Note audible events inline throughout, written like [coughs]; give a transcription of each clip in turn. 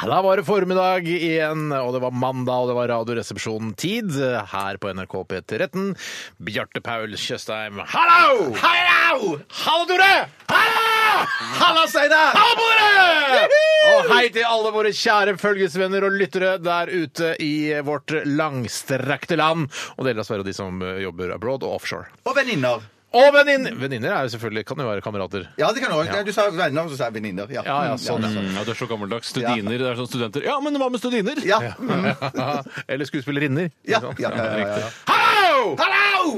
Da var det formiddag igjen, og det var mandag, og det var Radioresepsjonen-tid her på NRK P13. Bjarte Paul Tjøstheim, hallo! Hallo! Hallo, Tore! Hallo! Hallo, Steinar! Hallo, Tore! Og hei til alle våre kjære følgesvenner og lyttere der ute i vårt langstrekte land. Og dere, dessverre, de som jobber abroad og offshore. Og venninner. Og venninner! Venninner er jo selvfølgelig, kan jo være kamerater. Ja, det kan du også. Nei, Du sa venner, og så sa jeg venninner. Ja, Ja, ja, sånn, ja. Ja, det er så gammeldags. Studiner, det er sånn studenter. Ja, men hva med studiner? Ja. [laughs] Eller skuespillerinner. Ja, ja, ja, ja, ja, ja. Hallo! Hallo!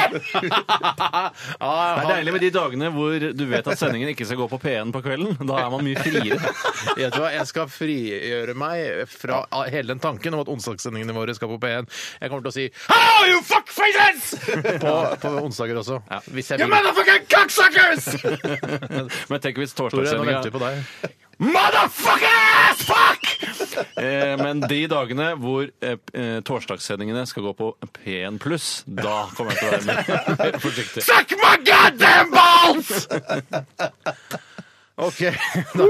Ah, Det er deilig med de dagene hvor du vet at sendingen ikke skal gå på P1 på kvelden. Da er man mye [laughs] friere. Vet du hva, Jeg skal frigjøre meg fra hele den tanken om at onsdagssendingene våre skal på P1. Jeg kommer til å si Hello, you fuckfaces! [laughs] På, på onsdager også. Hvis jeg vil. Motherfucking cocksuckers! Men tenk hvis Tore, nå venter vi torsdagssendinga på deg. Motherfuckers! Fuck! Eh, men de dagene hvor eh, eh, torsdagssendingene skal gå på P1 pluss, da kommer jeg til å være mer- [laughs] mer forsiktig. Suck my goddamn balls! [laughs] OK. Da,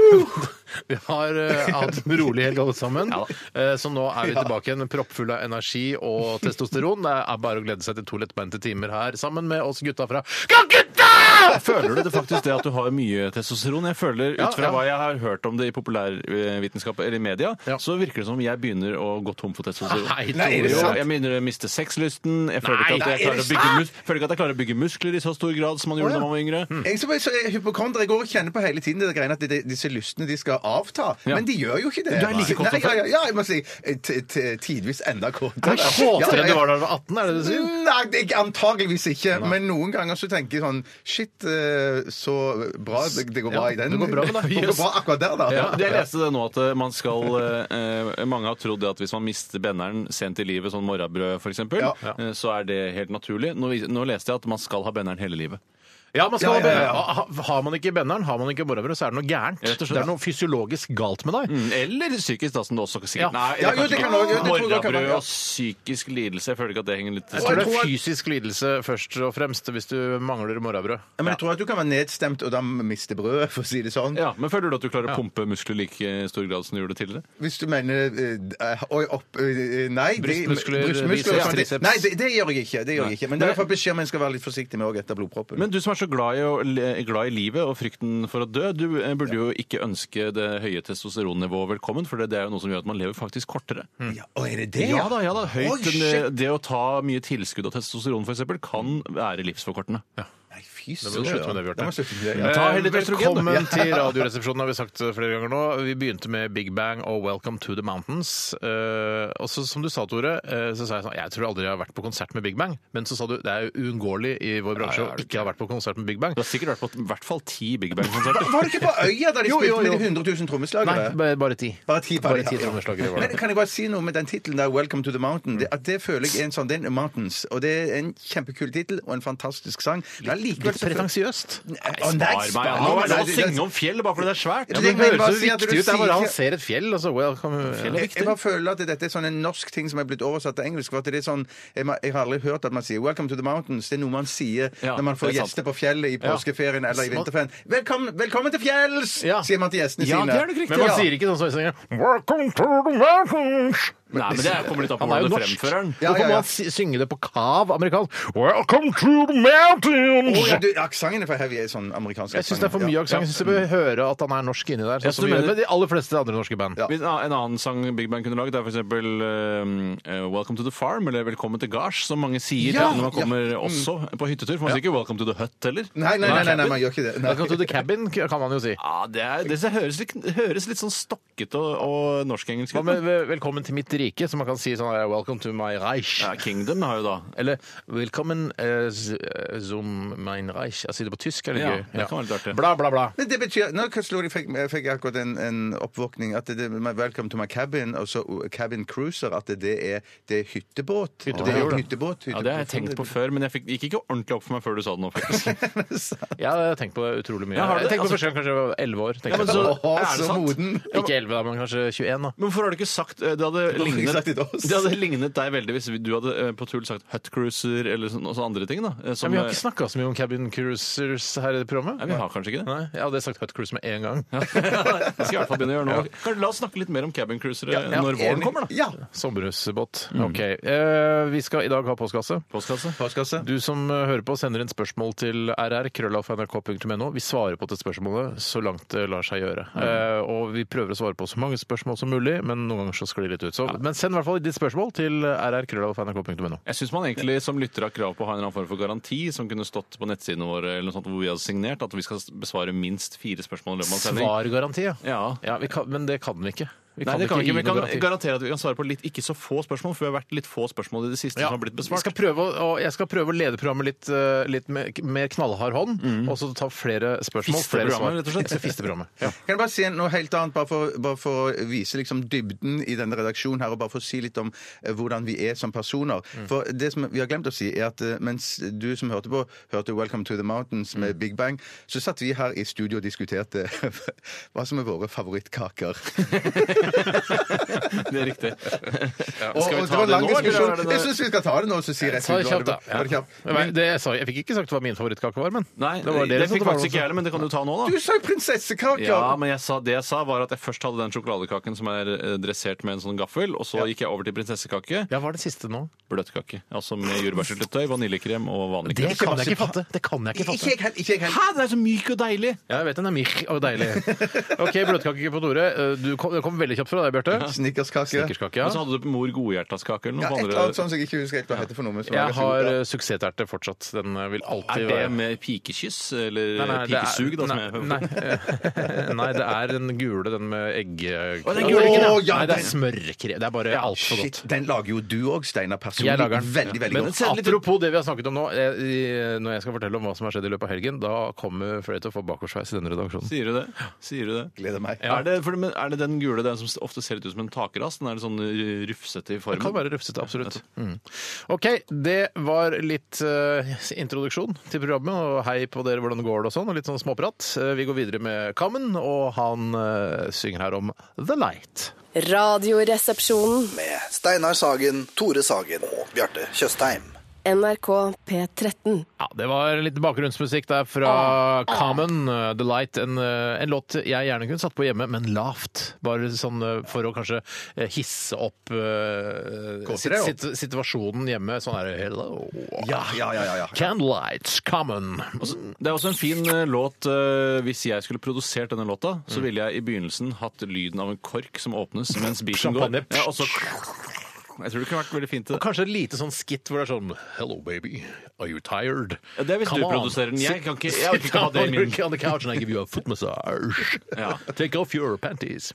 vi har eh, hatt en rolig helg alle sammen, Ja da. Eh, så nå er vi tilbake igjen proppfulle av energi og testosteron. Det er bare å glede seg til to lettbeinte timer her sammen med oss gutta fra Gutta! Føler du det faktisk det at du har mye testosteron? Jeg føler Ja, Ut fra ja. hva jeg har hørt om det i populærvitenskap eller i media, Ja. så virker det som om jeg begynner å gå tom for testosteron. Nei, Nei, er det Tore. Jo, sant? jeg begynner å miste sexlysten. Jeg føler, Nei, ikke at jeg, nei, er det klarer å bygge mus føler ikke at jeg klarer å bygge muskler i så stor grad som man Å, gjorde ja. Hmm. da man var yngre. Jeg som er så hypokonder, jeg går og kjenner på hele tiden det der greiene at de, disse lystene de skal avta. Ja. Men de gjør jo ikke det. Du er like kåt Nei, som før. ja, ja, ja, jeg må si eh, t- t- tidvis enda kåtere. Er du kåtere enn du var da du var 18? er det det du sier? Mm, Nei, det- antageligvis ikke. Men noen ganger så tenker jeg sånn Shit, eh, så bra. Det, det går bra i den. det går bra med deg. [laughs] Det går bra akkurat der, da. Ja, jeg leste det nå at eh, man skal eh, eh, Mange har trodd det at hvis man mister benneren sent i livet, sånn morrabrød f.eks., eksempel Ja. eh, så er det helt naturlig. Nå, vis- nå leste jeg at man skal ha benneren hele livet. Ja, man skal Ja, ja, ja, ha ja. ben- Ha, har man ikke benneren, har man ikke morrabrød, så er det noe gærent. Rett og slett. Mm. Det er noe fysiologisk galt med deg. Eller psykisk, da, som det også Ja. sikkert Nei, Hmm. Ja, det jo, kanskje det kan ikke. også- jo, det tror jeg kan være, Morrabrød ja. og psykisk lidelse, jeg føler ikke at det henger litt Jeg tror det er fysisk lidelse først og fremst hvis du mangler morrabrød. Ja, Men jeg tror at du kan være nedstemt og da miste brødet, for å si det sånn. ja, Men føler du at du klarer å pumpe muskler like i stor grad som du gjorde tidligere? Hvis du mener eh, Oi, opp eh, Nei. de- Brystmuskler, brystmuskler og biceps, sånt. triceps. Nei, det, det gjør jeg ikke. Det gjør jeg ikke. Men det er i hvert fall beskjed om en skal være litt forsiktig med òg etter blodproppen. Men du som er så glad i, å- le- glad i livet og frykten for å dø, du eh, burde jo ikke ønske det høye testosteronnivået velkommen, for det- det er jo noe som gjør at man lever faktisk kortere. ja, å, er det det, Ja da, ja da. Høyt, Mm. Oi, eh, shit. det å ta mye tilskudd av testosteron f.eks. kan være livsforkortende. Nei, fy Det må du slutte med det, Da må jeg Bjarte. slutte med det, ja. [laughs] Men ta heller litt østrogen, da. Eh, Velkommen til Radioresepsjonen, har vi sagt flere ganger nå. Vi begynte med Big Bang og Welcome to the Mountains. Eh, og så som du sa, Tore, eh, så sa jeg sånn Jeg tror aldri jeg har vært på konsert med Big Bang. Men så sa du det er jo uunngåelig i vår bransje å ikke ha vært på konsert med Big Bang. Du har sikkert vært på i hvert fall ti Big Bang-konserter. Var det ikke på Øya da de Jo, spilte jo, jo. med de 100 000 trommeslagere? Nei, bare- bare ti. Bare ti, Bare ja. ti trommeslagere var det. Mm. Men kan jeg bare si noe med den tittelen der, 'Welcome to the Mountain'? Det, at det føler jeg er en sånn, det er en Mountains, og det er en kjempekul tittel og en fantastisk sang. Men allikevel Litt så føler- pretensiøst. Å, nei, spar meg. Nå er det lov å Nei, synge om fjell bare fordi det er svært. Ja, Det men høres bare jo si at du viktig ut. Det er bare han sier- ser et fjell, og så welcome. Fjell er Jeg, jeg viktig. bare føler at dette er sånn en norsk ting som er blitt oversatt til engelsk. for at det er sånn, jeg, ma- jeg har aldri hørt at man sier 'Welcome to the mountains'. Det er noe man sier Ja, når man får det er sant. gjester på fjellet i påskeferien eller i vinterferien. Velkommen, 'Velkommen til fjells', Ja. sier man til gjestene Ja, sine. det er nok riktig. Men man Ja. sier ikke sånn som vi synger Welcome to the mountains Nei, men det kommer litt an på Han er jo hvordan du norsk. fremfører den. Nå Ja, ja, kan ja. man sy- synge det på kav amerikansk. Welcome to the mountains! Å, ja, du, Aksenten er for heavy. Sånn amerikansk Jeg syns det er for mye aksent. Jeg syns du bør høre at han er norsk inni Ja, der. Sånn som du vi gjør mener- med de aller fleste andre norske band. Ja. Hvis En annen en annen sang Big Bang kunne laget, er f.eks. Uh, 'Welcome to the Farm' eller 'Velkommen til gards', som mange sier Ja, når man ja. kommer også på hyttetur. For man sier ikke 'Welcome to the Hut' heller. Nei, nei, nei, nei, nei, man gjør ikke det. Nei. Welcome to the cabin, k- kan man jo si. Ja, det, er, det høres, litt, høres litt sånn stokkete og, og norsk-engelsk Hva ut. med men- ve- Velkommen til mitt rike, så man kan si sånn her, Welcome to my Reich. Ja, Kingdom har jo da Eller Willkommen eh, z- eh, zum mein Reich. Jeg sier det på tysk, er det Ja, gøy? det kan være litt artig. Bla, bla, bla. Men det betyr Nå slo jeg fikk, jeg fikk akkurat en, en oppvåkning at det, det- Welcome to my cabin, og så uh, cabin cruiser, at det er, det er hyttebåt. Hyttebåt, Det er ja. hyttebåt. Ja, Det har jeg tenkt på før, men jeg fikk, gikk ikke ordentlig opp for meg før du sa det nå. [laughs] faktisk. Ja, jeg har tenkt på det utrolig mye. Ja, har du jeg det? tenkte på Altså- første gang kanskje jeg var 11 år. tenkte Ja, men jeg på så- det. Å, Er det så sant? moden! Ikke 11, da, men kanskje 21. da. Men hvorfor har du ikke sagt eh, Det hadde, ikke lignet, sagt det til oss? det hadde lignet deg veldig hvis du hadde eh, på tull sagt Hutcruiser eller sånn, også andre ting. da. eh, Ja, som, men vi har eh, ikke snakka så mye om cabin cruisers her i det programmet. Nei, vi har kanskje ikke det. Nei, Jeg hadde sagt hut cruise med en gang. Ja. Det skal jeg i hvert fall begynne å gjøre nå. Kanskje, la oss snakke litt mer om cabincruisere Ja, ja, når våren kommer, da. Ja. Sommerhusbåt. Mm. Ok. Eh, vi skal i dag ha postkasse. Postkasse. Postkasse. Du som eh, hører på, sender inn spørsmål til rr.krøllalfa.nrk.no. Vi svarer på til spørsmålene så langt det lar seg gjøre. Mm. Eh, og vi prøver å svare på så mange spørsmål som mulig, men noen ganger så sklir det litt ut. Så, Men send i hvert fall ditt spørsmål til rr.krøllalfa.nrk.no. Jeg syns man egentlig som lytter har krav på å ha en eller annen form for garanti som kunne stått på nettsidene våre eller noe sånt hvor vi hadde signert at vi skal besvare minst fire spørsmål i løpet av en sending. Svargaranti, ja. Ja. ja vi kan, men det kan vi ikke. Vi Nei, det kan vi ikke. gi Vi kan noe garanti. garantere at vi kan svare på litt ikke så få spørsmål, for vi har vært litt få spørsmål i det siste som har blitt jeg besvart. skal prøve å, og jeg skal prøve å lede programmet litt, eh, litt mer, mer knallhard hånd, og så ta flere spørsmål. Mm. Fiste flere programmet, svar. rett og slett. Jeg skal fiste programmet. Ja. Kan jeg bare si noe helt annet, bare for, bare for å vise liksom dybden i denne redaksjonen her, og bare for å si litt om eh, hvordan vi er som personer. Mm. For det som vi har glemt å si, er at eh, mens du som hørte på, hørte 'Welcome to the Mountains' Mm. med Big Bang, så satt vi her i studio og diskuterte [laughs] hva som er våre favorittkaker. [laughs] Det er riktig. Og, Skal vi og ta det var det lang nå, eller diskusjon. er det noe- Jeg syns vi skal ta det nå, så sier jeg Ta det kjapt, da. Ta det kjapt. Men, det, jeg, sa, jeg fikk ikke sagt hva min favorittkake var, men Nei, det, det var dere som fikk var faktisk noe ikke jeg heller, men det kan du ta nå, da. Du sa jo prinsessekaker! Ja, men jeg sa, det jeg sa, var at jeg først hadde den sjokoladekaken som er eh, dressert med en sånn gaffel, og så gikk jeg over til prinsessekake, Ja, hva er det siste nå? bløtkake. Altså med jordbærsyltetøy, vaniljekrem og vanlig Det krem. kan jeg ikke fatte. Det kan jeg ikke Ikke fatte. jeg heller. Ikke jeg heller. Hæ, den er så myk og deilig! Ja, jeg vet den er mirk og deilig. OK, bløtkake på Tore. Eh, Du kom, det kom veldig kjapt fra deg, Bjarte. Snickerskake. Snickerskake, Og så ja. hadde du mor godhjertaskake eller Ja, noe et eller annet på andre. sånt som jeg ikke husker helt hva heter for noe. men som er Jeg ganske godt, har ja. eh, suksessterte fortsatt. Den eh, vil alltid Er det være med pikekyss? Eller Nei, nei, det er- pikesug, da, som jeg nei, [laughs] nei, nei, det er den gule, den med egg... Å, den gule eggen, ja. Nei, det er smørkrem. Det er bare altfor godt. Shit, den lager jo du òg, Steinar, personlig. Jeg lager den. Veldig, veldig Men godt. send litt- apropos det vi har snakket om nå, eh, i- når jeg skal fortelle om hva som har skjedd i løpet av helgen, da kommer flere til å få bakoversveis i denne redaksjonen. Sier du det? Sier du sånn- det? Gleder meg. Er, det, for, men er det den gule, den som ofte ser ut som en takras? Den er litt sånn eh, rufsete i Det kan formen? være rufsete, absolutt. Mm. OK, det var litt eh, introduksjon til programmet, og hei på dere, hvordan går det og sånn, og litt sånn småprat. Eh, vi går videre med Kammen, og han eh, synger her om The Light. Radioresepsjonen. med Steinar Sagen, Tore Sagen og Bjarte Tjøstheim. NRK P13. Ja, Det var litt bakgrunnsmusikk der fra Common, uh, The Light. En, uh, en låt jeg gjerne kunne satt på hjemme, men lavt. Bare sånn uh, for å kanskje uh, hisse opp uh, Kåse sit, deg opp. sit, situasjonen hjemme. Sånn her Hello. Ja, ja, ja, ja, ja. Candlelights, Common. Det er også en fin eh, låt. eh, Hvis jeg skulle produsert denne låta, så ville jeg i begynnelsen hatt lyden av en kork som åpnes mens beaten går. Champagne. Ja, og så jeg tror det kunne vært veldig fint. det. Kanskje et lite sånn skitt hvor det er sånn Hello, baby. Are you tired? Ja, det er hvis Come du on. produserer den. Jeg Sit- kan ikke- jeg orker ikke ha sit det i down min- on the couch and I give you a foot massage. Ja. Take off your panties.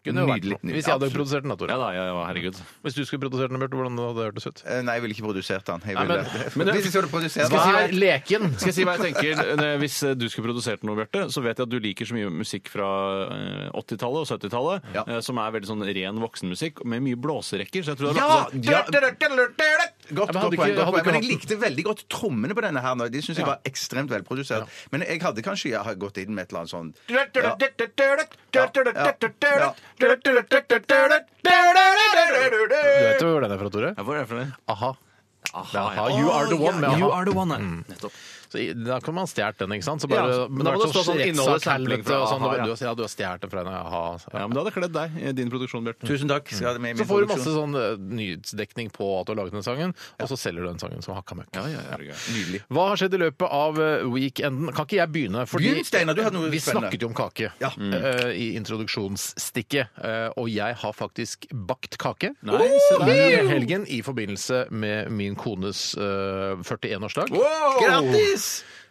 Kunne jo vært Nydelig, noe. nydelig. Hvis jeg hadde Absolutt. produsert den, da, Tore. Ja da, ja, ja, herregud. Hvis du skulle produsert den, Bjarte, hvordan hadde det hørtes ut? Eh, Nei, jeg ville ikke produsert den. Jeg Nei, ville, men- men det- Hvis jeg skulle produsert jeg si Vær hva- leken! Skal jeg si hva jeg tenker? eh, Hvis eh, du skulle produsert noe, Bjarte, så vet jeg at du liker så mye musikk fra eh, 80-tallet og 70-tallet, Ja. eh, som er veldig sånn ren voksenmusikk med mye blåserekker. Så jeg tror det Ja! hadde ja. Godt, godt poeng. godt poeng. hadde ikke- hadde ikke Men jeg hatt- likte veldig godt trommene på denne her. nå. De syns jeg Ja. var ekstremt velprodusert. Men jeg hadde kanskje jeg hadde gått inn med et eller annet sånn Du vet jo hvor den er fra, Tore? Ja, Hvor er det for det? Aha. Aha, Aha, Ah, You Are The One Mm. med Ja, You aha. are the one, ja. Nettopp. Så i- da kan man stjålet den, ikke sant? Så bare, Ja, men da må vært det stå sånn rettssak, innholdet sampling helvete, fra og sånn, aha, ja. du, har- ja, du har stjålet den fra en aha. Ja, men det hadde kledd deg i din produksjon, Bjarte. Tusen takk. skal jeg ha med i Så min får du masse produksjon. sånn eh, nyhetsdekning på at du har laget den sangen, og så selger du den sangen som hakka møkk. Nydelig. Hva har skjedd i løpet av eh, weekenden? Kan ikke jeg begynne? Begynn, Steinar, du hadde noe vi spennende. snakket jo om kake Ja. eh, i introduksjonsstikket, eh, og jeg har faktisk bakt kake Nei, se i der. helgen i forbindelse med min kones eh, 41-årsdag. Grattis!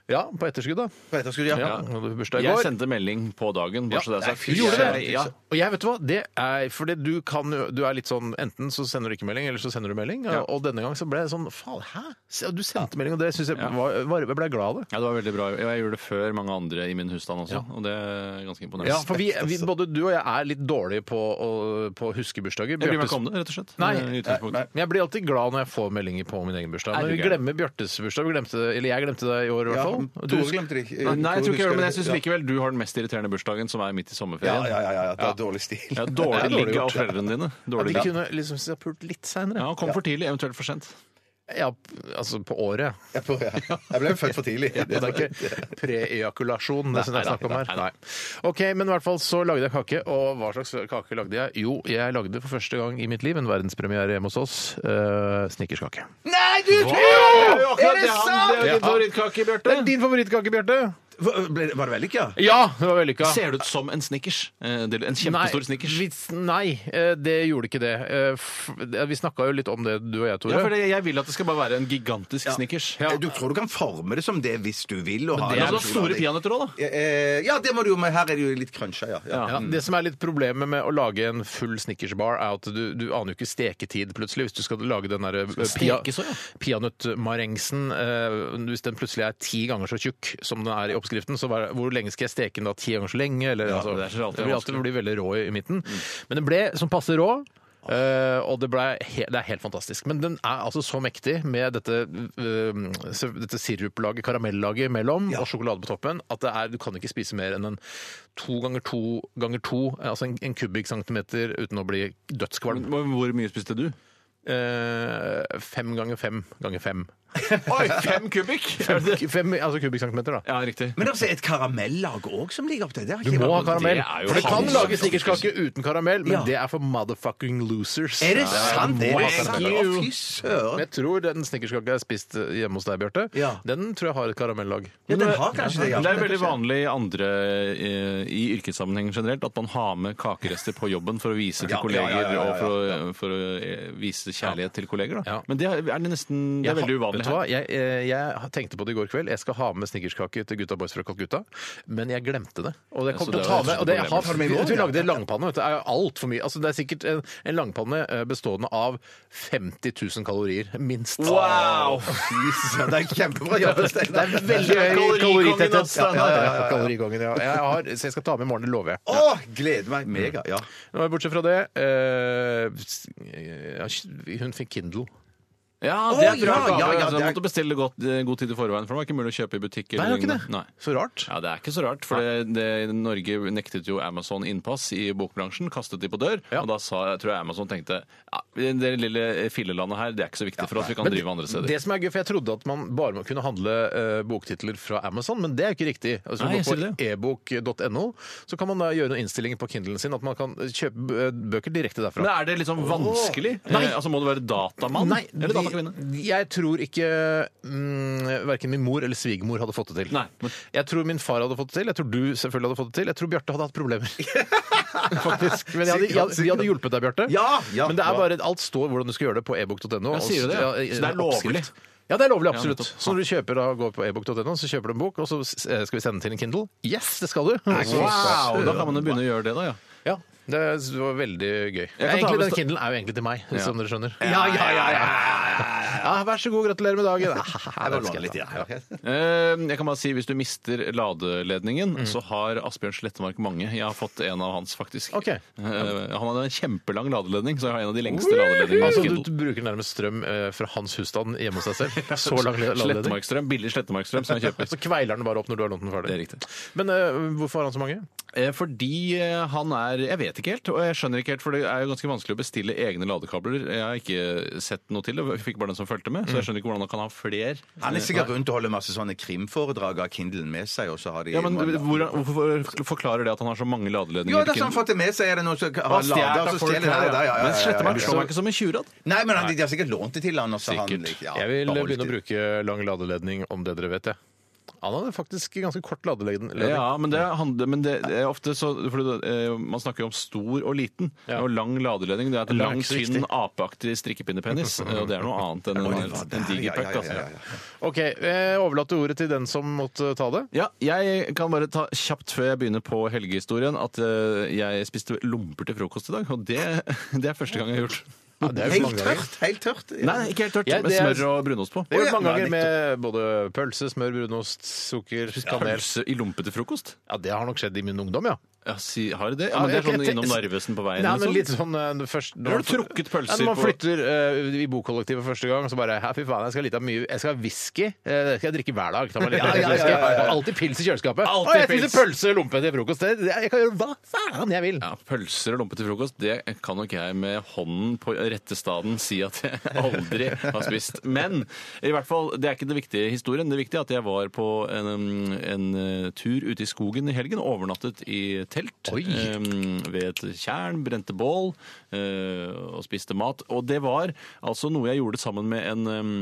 Ja, på etterskudd, da. På etterskudd, ja. Ja. Hadde bursdag i Jeg går. sendte melding på dagen, bare så det er sagt. Fy Gjorde søren. det? Ja. Og jeg vet du hva, det er fordi du kan jo Du er litt sånn Enten så sender du ikke melding, eller så sender du melding. Og denne gang så ble jeg sånn Faen, hæ? Se, Du sendte melding, og det syns jeg var, var, Jeg ble glad av det. Ja, det var veldig bra. Jeg gjorde det før mange andre i min husstand også, og det er ganske imponerende. altså. Ja, for vi, vi, både du og jeg er litt dårlige på å- på å huske bursdager. Jeg bryr meg Bjørtes- ikke om det, rett og slett. Eh, Nei, i utgangspunktet. nei, Men jeg blir alltid glad når jeg får meldinger på min egen bursdag. Er Men du vi gæren? glemmer Bjørtes bursdag. Vi glemte, det- eller jeg glemte det i år, i hvert Ja, fall. Og du- Tore glemte det ikke. eh, Nei, jeg tror ikke jeg gjør det, men jeg syns Ja. likevel du har den mest irriterende bursdagen, som er midt Ja, i sommerferien. ja, ja, ja, ja. Det er dårlig stil. [laughs] Ja, Det er dårlig dårlig ligge av gjort. foreldrene dine. Ja, Dårlig de ligge. kunne liksom si jeg pult litt Ja, seinere. kom for tidlig, eventuelt for sent. Ja, altså på året. Jeg får- ja. Jeg ble født for tidlig. Det er [laughs] ikke preejakulasjon, det som det er nei, snakk om her. nei, Nei. OK, men i hvert fall så lagde jeg kake. Og hva slags kake lagde jeg? Jo, jeg lagde for første gang i mitt liv en verdenspremiere hjemme hos oss. Uh, Snickerskake. Nei, du Jo! Er det sant?! Det er Ja. din favorittkake, Det Bjarte. er din favorittkake, Bjarte! Hva- ble det- Var det vellykka? Ja, det var vellykka. Ser det ut som en snickers? Eh, det- En kjempestor snickers? Nei, vi- nei, eh, det gjorde ikke det. Eh, f- det- Vi snakka jo litt om det, du og jeg, Tore. Ja, for det- jeg vil at det skal bare være en gigantisk snickers. Ja. Eh, Du tror du kan forme det som det hvis du vil? Og ha Det er sånn da en store sjokolade i. peanøtter òg, da. Eh, eh, Ja, det må du jo, men her er det jo litt cruncha, ja. ja. Ja, det som er litt problemet med å lage en full Snickers-bar, er at du, du aner jo ikke steketid plutselig. Hvis du skal lage den der eh, pia, steke så, ja. peanøttmarengsen eh, Hvis den plutselig er ti ganger så tjukk som den er i oppskriften, så hva- hvor lenge skal jeg steke den da? Ti ganger så lenge? Eller, Ja, altså, det er så alltid det blir alltid blir veldig rå i, i midten. Men den ble som passe rå. eh, og det, ble he det er helt fantastisk. Men den er altså så mektig med dette, eh, se- dette siruplaget, karamellaget imellom og sjokolade på toppen, at det er, du kan ikke spise mer enn en to ganger to ganger to, eh, altså en, en kubikkcentimeter uten å bli dødskvalm. Men Hvor mye spiste du? Eh, fem ganger fem ganger fem. Oi, fem kubikk! [laughs] Er det det? fem altså kubikkcentimeter, da. Ja, riktig. Men altså, et karamellag òg som ligger oppi der? Du må ha karamell. Det er jo For det kan faen- lage snickerskake uten karamell, men Ja. det er for motherfucking losers. Er det Ja, sant? du Det må er ha sant? karamell. Å, Fy Å, fy Men søren. jeg tror den snickerskaka jeg spiste hjemme hos deg, Bjarte, Ja. den tror jeg har et karamellag. Ja, den har kanskje det. ja. Det er veldig vanlig i andre eh, i yrkessammenheng generelt at man har med kakerester på jobben for å vise til Ja, ja, ja, kolleger ja, ja, og for å, for å eh, vise kjærlighet til kolleger. Da. Ja. Men det er, er det nesten det er Jeg veldig har- uvanlig Vet du hva? her. Jeg, eh, jeg tenkte på det i går kveld. Jeg skal ha med snickerskake til gutta boys fra Calcutta, men jeg glemte det. Og jeg så kommer det var til å ta med et og det jeg har, problem. vi, vi lagde langpanne. Vet du, Det er jo alt for mye. Altså, det er sikkert en, en langpanne eh, bestående av 50 000 kalorier, minst. Wow! Fy søren, [laughs] Det er kjempebra jobbet, Det er Steinar. veldig høy Kalorikongen, kaloritetthet. ass, Ja, den ja, ja, ja. Kalorikongen, ja. Jeg har, så jeg skal ta med i morgen, det lover jeg. Å, gleder meg mega. Ja. Nå, Bortsett fra det eh, s- ja, Hun fikk Kindle. Ja, det er Å, ja, bra. ja, ja, det altså, er- man måtte bestille godt, eh, god tid i forveien, for det var ikke mulig å kjøpe i butikk. Nei, eller det var ikke lignende. det. Nei. Så rart. Ja, Det er ikke så rart, for det, det, Norge nektet jo Amazon innpass i bokbransjen. Kastet de på dør. Ja. Og da sa, jeg tror jeg Amazon tenkte ja, det lille fillelandet her det er ikke så viktig for oss, vi kan Men drive andre steder. Det som er gøy, for Jeg trodde at man bare må kunne handle eh, boktitler fra Amazon, men det er jo ikke riktig. Altså, Nei, jeg Hvis man sier går på ebok.no, så kan man da gjøre noen innstillinger på Kindlen sin, at man kan kjøpe eh, bøker direkte derfra. Men er det liksom vanskelig? Nei. Eh, altså Må du være datamann? Nei, eller datakvinne? de- jeg tror ikke mm, verken min mor eller svigermor hadde fått det til. Nei. Jeg tror min far hadde fått det til, jeg tror du selvfølgelig hadde fått det til, jeg tror Bjarte hadde hatt problemer. [laughs] Faktisk. Men jeg hadde, jeg, vi hadde hjulpet deg, Bjarte. Ja, ja, Men det ja. er bare, alt står hvordan du skal gjøre det på ebok.no. Ja, sier du det, ja? Så det er lovlig? Oppskrift. Ja, det er lovlig, absolutt. nettopp. så når du kjøper da, går på ebok.no, så kjøper du en bok, og så s- eh, skal vi sende til en Kindle. Yes, det skal du! Og så- Wow! Da kan man jo begynne å gjøre det, da. ja. Ja, det var veldig gøy. kan ta Egentlig, med den sta- Kindlen er jo egentlig til meg, Ja. som dere skjønner. Ja, ja, ja, ja, Ja, vær så god, gratulerer med [laughs] dagen. Det Det var litt, ja, ja. Eh, Jeg kan bare si Hvis du mister ladeledningen, Mm. så har Asbjørn Slettemark mange. Jeg har fått en av hans, faktisk. Ok. Eh, Han hadde en kjempelang ladeledning, så jeg har en av de lengste ladeledningene. Altså, på Kindle. du bruker nærmest strøm eh, fra hans husstand hjemme hos deg [laughs] selv. Så lang ladeledning. Slettemarkstrøm, Billig Slettemarkstrøm som [laughs] jeg kjøper. [laughs] Så kveiler den bare opp når du har lånt den ferdig. Det er riktig. Men eh, hvorfor har han så mange? Eh, Fordi eh, han er Jeg vet ikke helt, og jeg skjønner ikke helt, for det er jo ganske vanskelig å bestille egne ladekabler. Jeg har ikke sett noe til det, jeg fikk bare den som fulgte med, Mm. så jeg skjønner ikke hvordan han kan ha fler. Han er sikkert rundt og holder masse sånne krimforedrag av Kindlen med seg, og så har de Ja, men hvordan- Hvorfor forklarer det at han har så mange ladeledninger? Jo, til det er sånn Kindle? fått det med seg. Er det noen som har Stjert lada, av og så folk stjeler de her, det? Ja, ja, ja, ja, Men ja, Slettemark slår ja. meg ikke som en tjurad. Nei, men han, de har sikkert lånt det til han. og så har han Sikkert. litt- ja, Jeg vil beholdt begynne å det. bruke lang ladeledning om det dere vet, jeg. Han hadde faktisk ganske kort ladeledning. Ja, men det, handler, men det er ofte så fordi det, eh, Man snakker jo om stor og liten. Ja. Og lang ladeledning. Det er et Lang lang, er ikke tynn, riktig. apeaktig [laughs] strikkepinnepenis. eh, Og det er noe annet enn en, en, diger pack. altså. OK, jeg overlater ordet til den som måtte ta det. Ja, jeg kan bare ta kjapt før jeg begynner på helgehistorien, at eh, jeg spiste lomper til frokost i dag. Og det, [laughs] det er første gang jeg har gjort. Ja, det er jo så Helt mange ganger. tørt! Helt tørt. Nei, nei, ikke helt tørt. Ja, Med det er- smør og brunost på. Det har jeg Å, gjort ja. mange ganger Nei, med både pølse, smør, brunost, sukker, kanel. Pølse i lompe til frokost? Ja, Det har nok skjedd i min ungdom, ja. Ja, si, har de det? Ja, men det er sånn innom Narvesen på veien. Nei, og men sånn. litt sånn eh, først, Har du trukket pølser ja, Når man på- flytter eh, i bokollektivet første gang, så bare "Hæ, Fy faen, jeg skal ha litt av mye Jeg skal ha whisky. eh, det skal jeg drikke hver dag. Ta meg litt Ja, ja, ja, ja, ja, ja. Alltid pils i kjøleskapet. Alltid Å, jeg pils. spiser pølse og lompe til frokost. Det, det- jeg kan gjøre hva faen jeg vil. Ja, Pølser og lompe til frokost, det kan nok jeg med hånden på rette staden si at jeg aldri har spist. Men i hvert fall, det er ikke det viktige i historien. Det viktige er at jeg var på en, um, en uh, tur ute i skogen i helgen, overnattet i telt Oi. um, ved et tjern, brente bål uh, og spiste mat. Og det var altså noe jeg gjorde sammen med en um,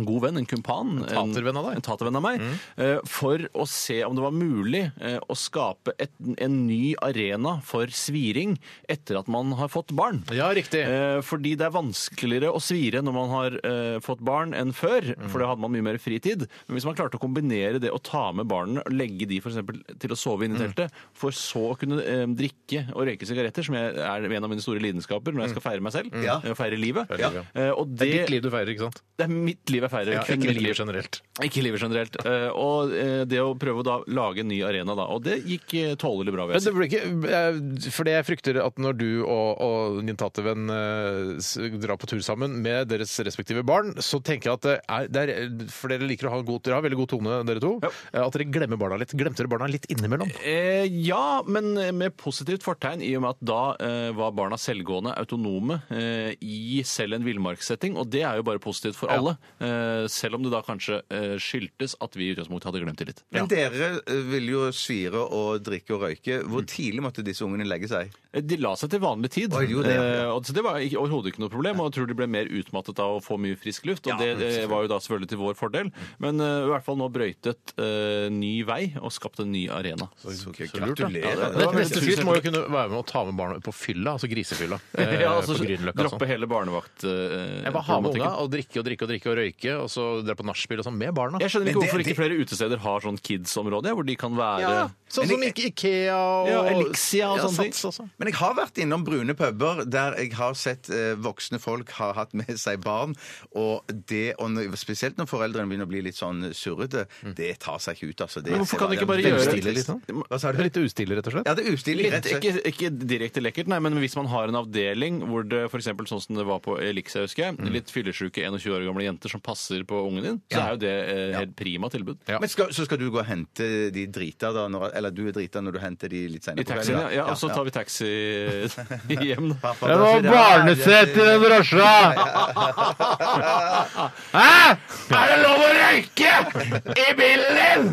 en god venn, en kumpan. En tatervenn av deg. En tatervenn av Mm. meg. eh, For å se om det var mulig eh, å skape et, en ny arena for sviring etter at man har fått barn. Ja, riktig. Eh, Fordi det er vanskeligere å svire når man har eh, fått barn enn før, Mm. for da hadde man mye mer fritid. Men hvis man klarte å kombinere det å ta med barna, og legge de for eksempel til å sove inne i Mm. teltet, for så å kunne eh, drikke og røyke sigaretter, som jeg er en av mine store lidenskaper når jeg skal feire meg selv, Ja. eh, og feire livet. Mm. Feire livet. Eh, Og Det er det, ditt liv du feirer, ikke sant? det er mitt liv jeg feirer. kun mitt liv. generelt. Ikke livet generelt. Eh, og eh, det å prøve å da lage en ny arena, da. Og det gikk eh, tålelig bra. vil Men jeg det si. blir ikke, eh, fordi jeg frykter at når du og, og din tatervenn eh, s- drar på tur sammen med deres respektive barn, så tenker jeg at det er, det er For dere liker å ha en god, dere har veldig god tone, dere to. Ja. eh, At dere glemmer barna litt. Glemte dere barna litt innimellom? Eh, ja, men med positivt fortegn, i og med at da eh, var barna selvgående, autonome, eh, i selv en villmarkssetting. Og det er jo bare positivt for Ja. alle. Eh, selv om det da kanskje eh, skyldtes at vi i utgangspunktet hadde glemt det litt. Men dere eh, ville jo svire og drikke og røyke. Mm. Hvor tidlig måtte disse ungene legge seg? De la seg til vanlig tid, Oi, jo, det, ja. Eh, og så det var ikke- overhodet ikke noe problem. Og jeg tror de ble mer utmattet av å få mye frisk luft, og det, eh, var jo da selvfølgelig til vår fordel. Men eh, i hvert fall nå brøytet eh, ny vei og skapt en ny arena. Gratulerer. det var veldig Neste skritt må jo kunne være med å ta med barna på fylla, altså [laughs] grisefylla. eh, Ja, altså, på Grünerløkka og sånn. droppe hele barnevakt eh, Jeg bare ha med unga problematikken. og drikke og drikke og drikke og røyke, og så dra på nachspiel og sånn med barna. Jeg skjønner Men ikke det- hvorfor det- ikke flere utesteder har sånn kids-område, ja, hvor de kan være Ja, sånn som Ike- Ikea og Ja, Elixia og sånne ting. Sats og sånn. Men jeg har vært innom brune puber der jeg har sett eh, voksne folk har hatt med seg barn. Og det, og når, spesielt når foreldrene begynner å bli litt sånn surrete, det tar seg ikke ut. Altså. Det, Mm. Men ser hvorfor kan de ikke bare det er gjøre ustilig, det, liksom? Hva sa Er du? det litt ustilig, rett og slett? Ja, det er ustilig. Litt, Rett og slett. ikke, ikke direkte lekkert, nei, men hvis man har en avdeling hvor det f.eks. sånn som det var på Elixia, husker jeg, Mm. litt fyllesyke 21 år gamle jenter som passer på ungen din, så er jo det eh, helt prima tilbud. Ja. Men skal, så skal du gå og hente de drita, da, når, eller du er drita når du henter de litt I senere? på taxien, kvelden, ja. ja. Og så tar vi [laughs] taxi [laughs] hjem. da. Pappa, da sier jeg, ja, den drosja! [laughs] Hæ?! Er det lov å røyke i bilen din?!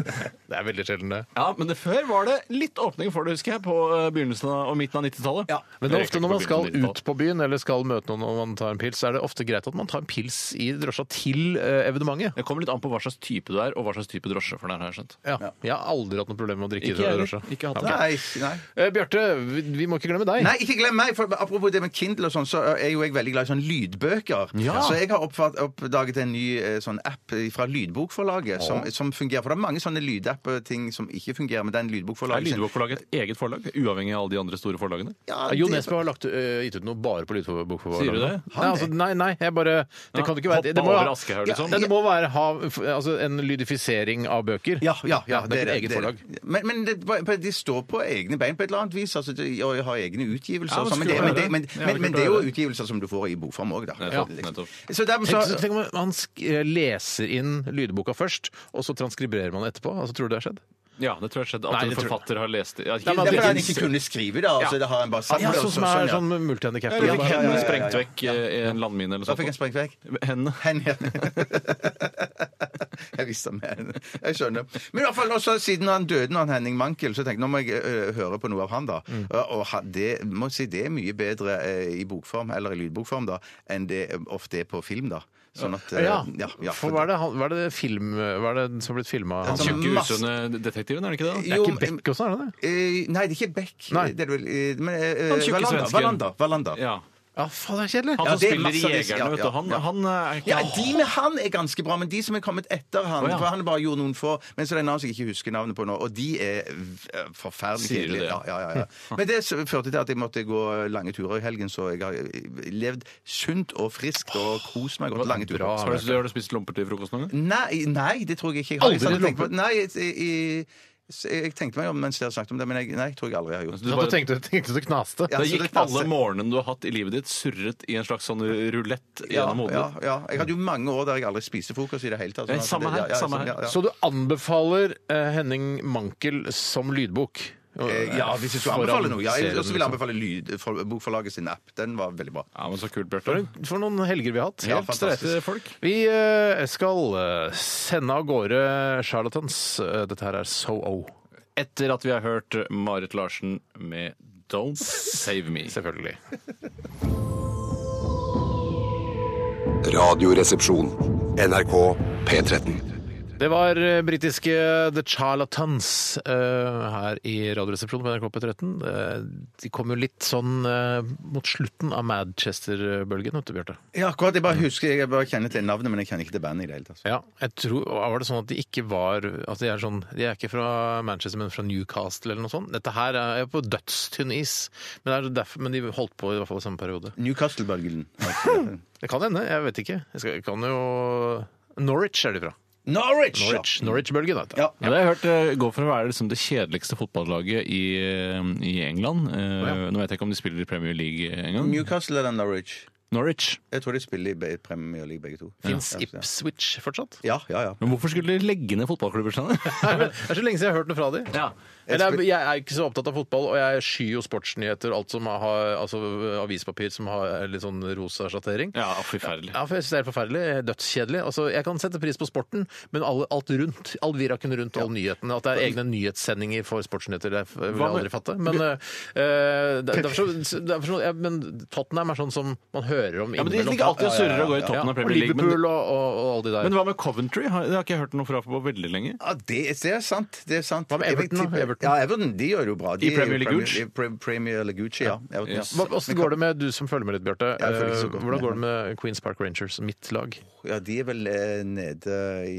Det er veldig sjelden, det. Ja, men det før var det litt åpning for det, husker jeg, på eh, begynnelsen av, og midten av 90-tallet. Men det er Jeg ofte røyker når man ikke på skal begynnelsen av ut på byen eller skal møte noen og man tar en pils, så er det ofte greit at man tar en pils i drosja til eh, evenementet. Det kommer litt an på hva slags type du er, og hva slags type drosje for deg, har jeg skjønt. Ja. Jeg har aldri hatt noe problem med å drikke i Ikke jeg drosja. heller. Ikke hatt det. Ja, ok. Nei, nei. Eh, Bjarte, vi, vi må ikke glemme deg. Nei, ikke glem meg! For apropos det med Kindle, og sånn, så er jo jeg veldig glad i sånne lydbøker. Ja. Så jeg har oppfatt, oppdaget en ny eh, sånn app fra Lydbokforlaget som, som fungerer. For det er mange sånne lydapper ting som ikke fungerer, men den Er Lydbokforlaget sin- Lydbokforlaget et eget forlag, uavhengig av alle de andre store forlagene? Ja, Ja, Jo det- Nesbø har lagt, øh, gitt ut noe bare på lydbokforvalget. Sier du det? Nei, altså, nei, nei, jeg bare Det Ja, kan det ikke være det, hoppa det må, over Aschehoug, ja, liksom. nei, det må være ha, f- altså, en lydifisering av bøker. Ja, ja, ja, det er ikke et eget det forlag. Men, men det, bare- de står på egne bein på et eller annet vis. Altså, de, og har egne utgivelser. Ja, og men sånn, men, det, skulle men, være det, men, det. Ja, men, det men kunne det er jo være det. utgivelser som du får i bokform òg, da. Nettopp, Liksom. nettopp. Så dermed Tenk, så, så tenk om man sk eh, leser inn lydboka først, og så transkriberer man det etterpå. Altså, tror du det har skjedd? Ja, det tror jeg har skjedd. Nei, At en det tror jeg- forfatter har lest det. Ja, Nei, ikke, men Det er det fordi han finnes- ikke kunne skrive, da. Altså, det har han bare sagt. Ja, det, og sånn som sånn, er ja. sånn multihandicap. Ja, du fikk Ja, ja, ja, hendene ja, ja. sprengt vekk eh, i en landmine eller Da fikk sånt. han sprengt vekk. Hendene. Hen, ja. [laughs] Jeg visste mer enn det. Jeg skjønner. Men i hvert fall også siden han døde, når han Henning Mankel, så tenkte jeg nå må jeg ø, høre på noe av han, da. Mm. Og, og ha- det, må si det er mye bedre ø, i bokform, eller i lydbokform, da, enn det eh, ofte er på film, da. Sånn at ø, Ja. ja, ja, for hva er det, han- hva er det, film, hva er det som har blitt filma? Det er sånn- Tjukke, masse- usunne detektiven, er det ikke det? da? Det er ikke Beck også, sånn, er det det? Eh, nei, det er ikke Beck. Nei. Det er det vel, eh, men, eh, Han tjukke Valanda, svensken. Valanda. Valanda. Ja. Ja, faen, det er kjedelig. Han Ja, som det er spiller i masse av disse, Jegerne, ja, vet du. ja, Han, ja. han eh, er ikke Ja, de med han er ganske bra, men de som er kommet etter han Å, ja. For han bare gjorde noen få, men så er det en annen som jeg ikke husker navnet på nå, og de er v- eh, forferdelig Sier du kjedelige. det, Ja, ja? ja, ja, [laughs] ja. Men det s- førte til at jeg måtte gå lange turer i helgen, så jeg har eh, levd sunt og friskt og kost meg godt lange bra. turer. Har du, har du spist lomper til frokost noen gang? Nei, nei, det tror jeg ikke. Jeg har Aldri jeg satt og lompe- tenkte på- Nei, jeg, jeg, jeg, jeg tenkte meg om mens dere snakket om det, men jeg, nei, jeg tror jeg aldri jeg har gjort Du det. satt og tenkte, tenkte du knaste. Ja, Da så det gikk passer. alle morgenene du har hatt i livet ditt, surret i en slags sånn rulett gjennom hodet ja, ditt. ja. Jeg hadde jo mange år der jeg aldri spiste frokost i det sånn, hele tatt. Det er samme her, samme her. Så, Så du anbefaler eh, Henning Mankel som lydbok? Eh, ja, hvis jeg skulle Foran anbefale noe. Ja, jeg serien, også vil jeg liksom. anbefale lyd, for, Bokforlaget sin app. Den var veldig bra. Ja, men så kult, For, Bjarte. for noen helger vi har hatt. Ja, Helt fantastisk. streite. Streite folk. Vi eh, skal eh, sende av gårde charlatans. Eh, Dette her er So-O. Etter at vi har hørt Marit Larsen med Don't Save Me. Selvfølgelig. Radioresepsjon. NRK P13. Det var eh, britiske The Charlatans eh, her i Radioresepsjonen på NRK P13. Eh, de kom jo litt sånn eh, mot slutten av Madchester-bølgen, vet du, Bjarte. Ja, akkurat. Jeg bare husker, jeg bare kjenner til navnet, men jeg kjenner ikke til bandet i det hele tatt. Ja, jeg tror, Var det sånn at de ikke var at de, er sånn, de er ikke fra Manchester, men fra Newcastle eller noe sånt? Dette her er på dødstynn is, men, det er derfor, men de holdt på i hvert fall i samme [laughs] periode. Newcastle-bølgen. Det kan hende, jeg vet ikke. Jeg skal, jeg kan jo Norwich er de fra. Norwich! ja. Norwich- Norwich-bølgen, Norwich da. Ja. Ja, det har jeg hørt eh, gå for å være liksom det kjedeligste fotballaget i, eh, i England. Eh, ja. Nå vet jeg ikke om de spiller i Premier League engang. Newcastle eller Norwich? Norwich. Jeg tror de spiller i be- Premier League, begge to. Fins Ja, ja. Ipswich fortsatt? Ja, ja, ja. Men hvorfor skulle de legge ned fotballklubber? Steinar? Nei, men Det er så lenge siden jeg har hørt noe fra [laughs] dem. [laughs] ja. Eller, jeg- jeg er ikke så opptatt av fotball, og jeg skyr jo sportsnyheter alt som har altså, avispapir som har litt sånn rosa sjattering. ja, forferdelig. Ja, for jeg synes det er helt forferdelig. Dødskjedelig. Altså, jeg kan sette pris på sporten, men alle, alt rundt, all viraken rundt, all nyheten. At det er egne nyhetssendinger for sportsnyheter, det f- vil jeg Hva med- aldri fatte. Men, eh, der- derfor så, derfor så, ja, men Tottenham er sånn som man hører om Ja, men De innimellom. ligger alltid og surrer og går i Ja, toppen av og Premier League. Men, Liverpool og, og, og alle de der. men hva med Coventry? Har- Det har ikke jeg hørt noe fra på veldig lenge. Ja, det, er- det er sant. Det er sant. Hva med Jeg vil Everton, da? tippe- Everton? Ja, Everton, de gjør det jo bra. De I er jo Premier League Premier- Gucci? Pre- Premier League Gucci, ja. Everton, ja. Yes. Hva- Åssen går det med du som følger med litt, Bjarte? Jeg følger ikke så Eh, godt Hvordan med. går det med Queens Park Rangers, mitt lag? Ja, de er vel eh, nede i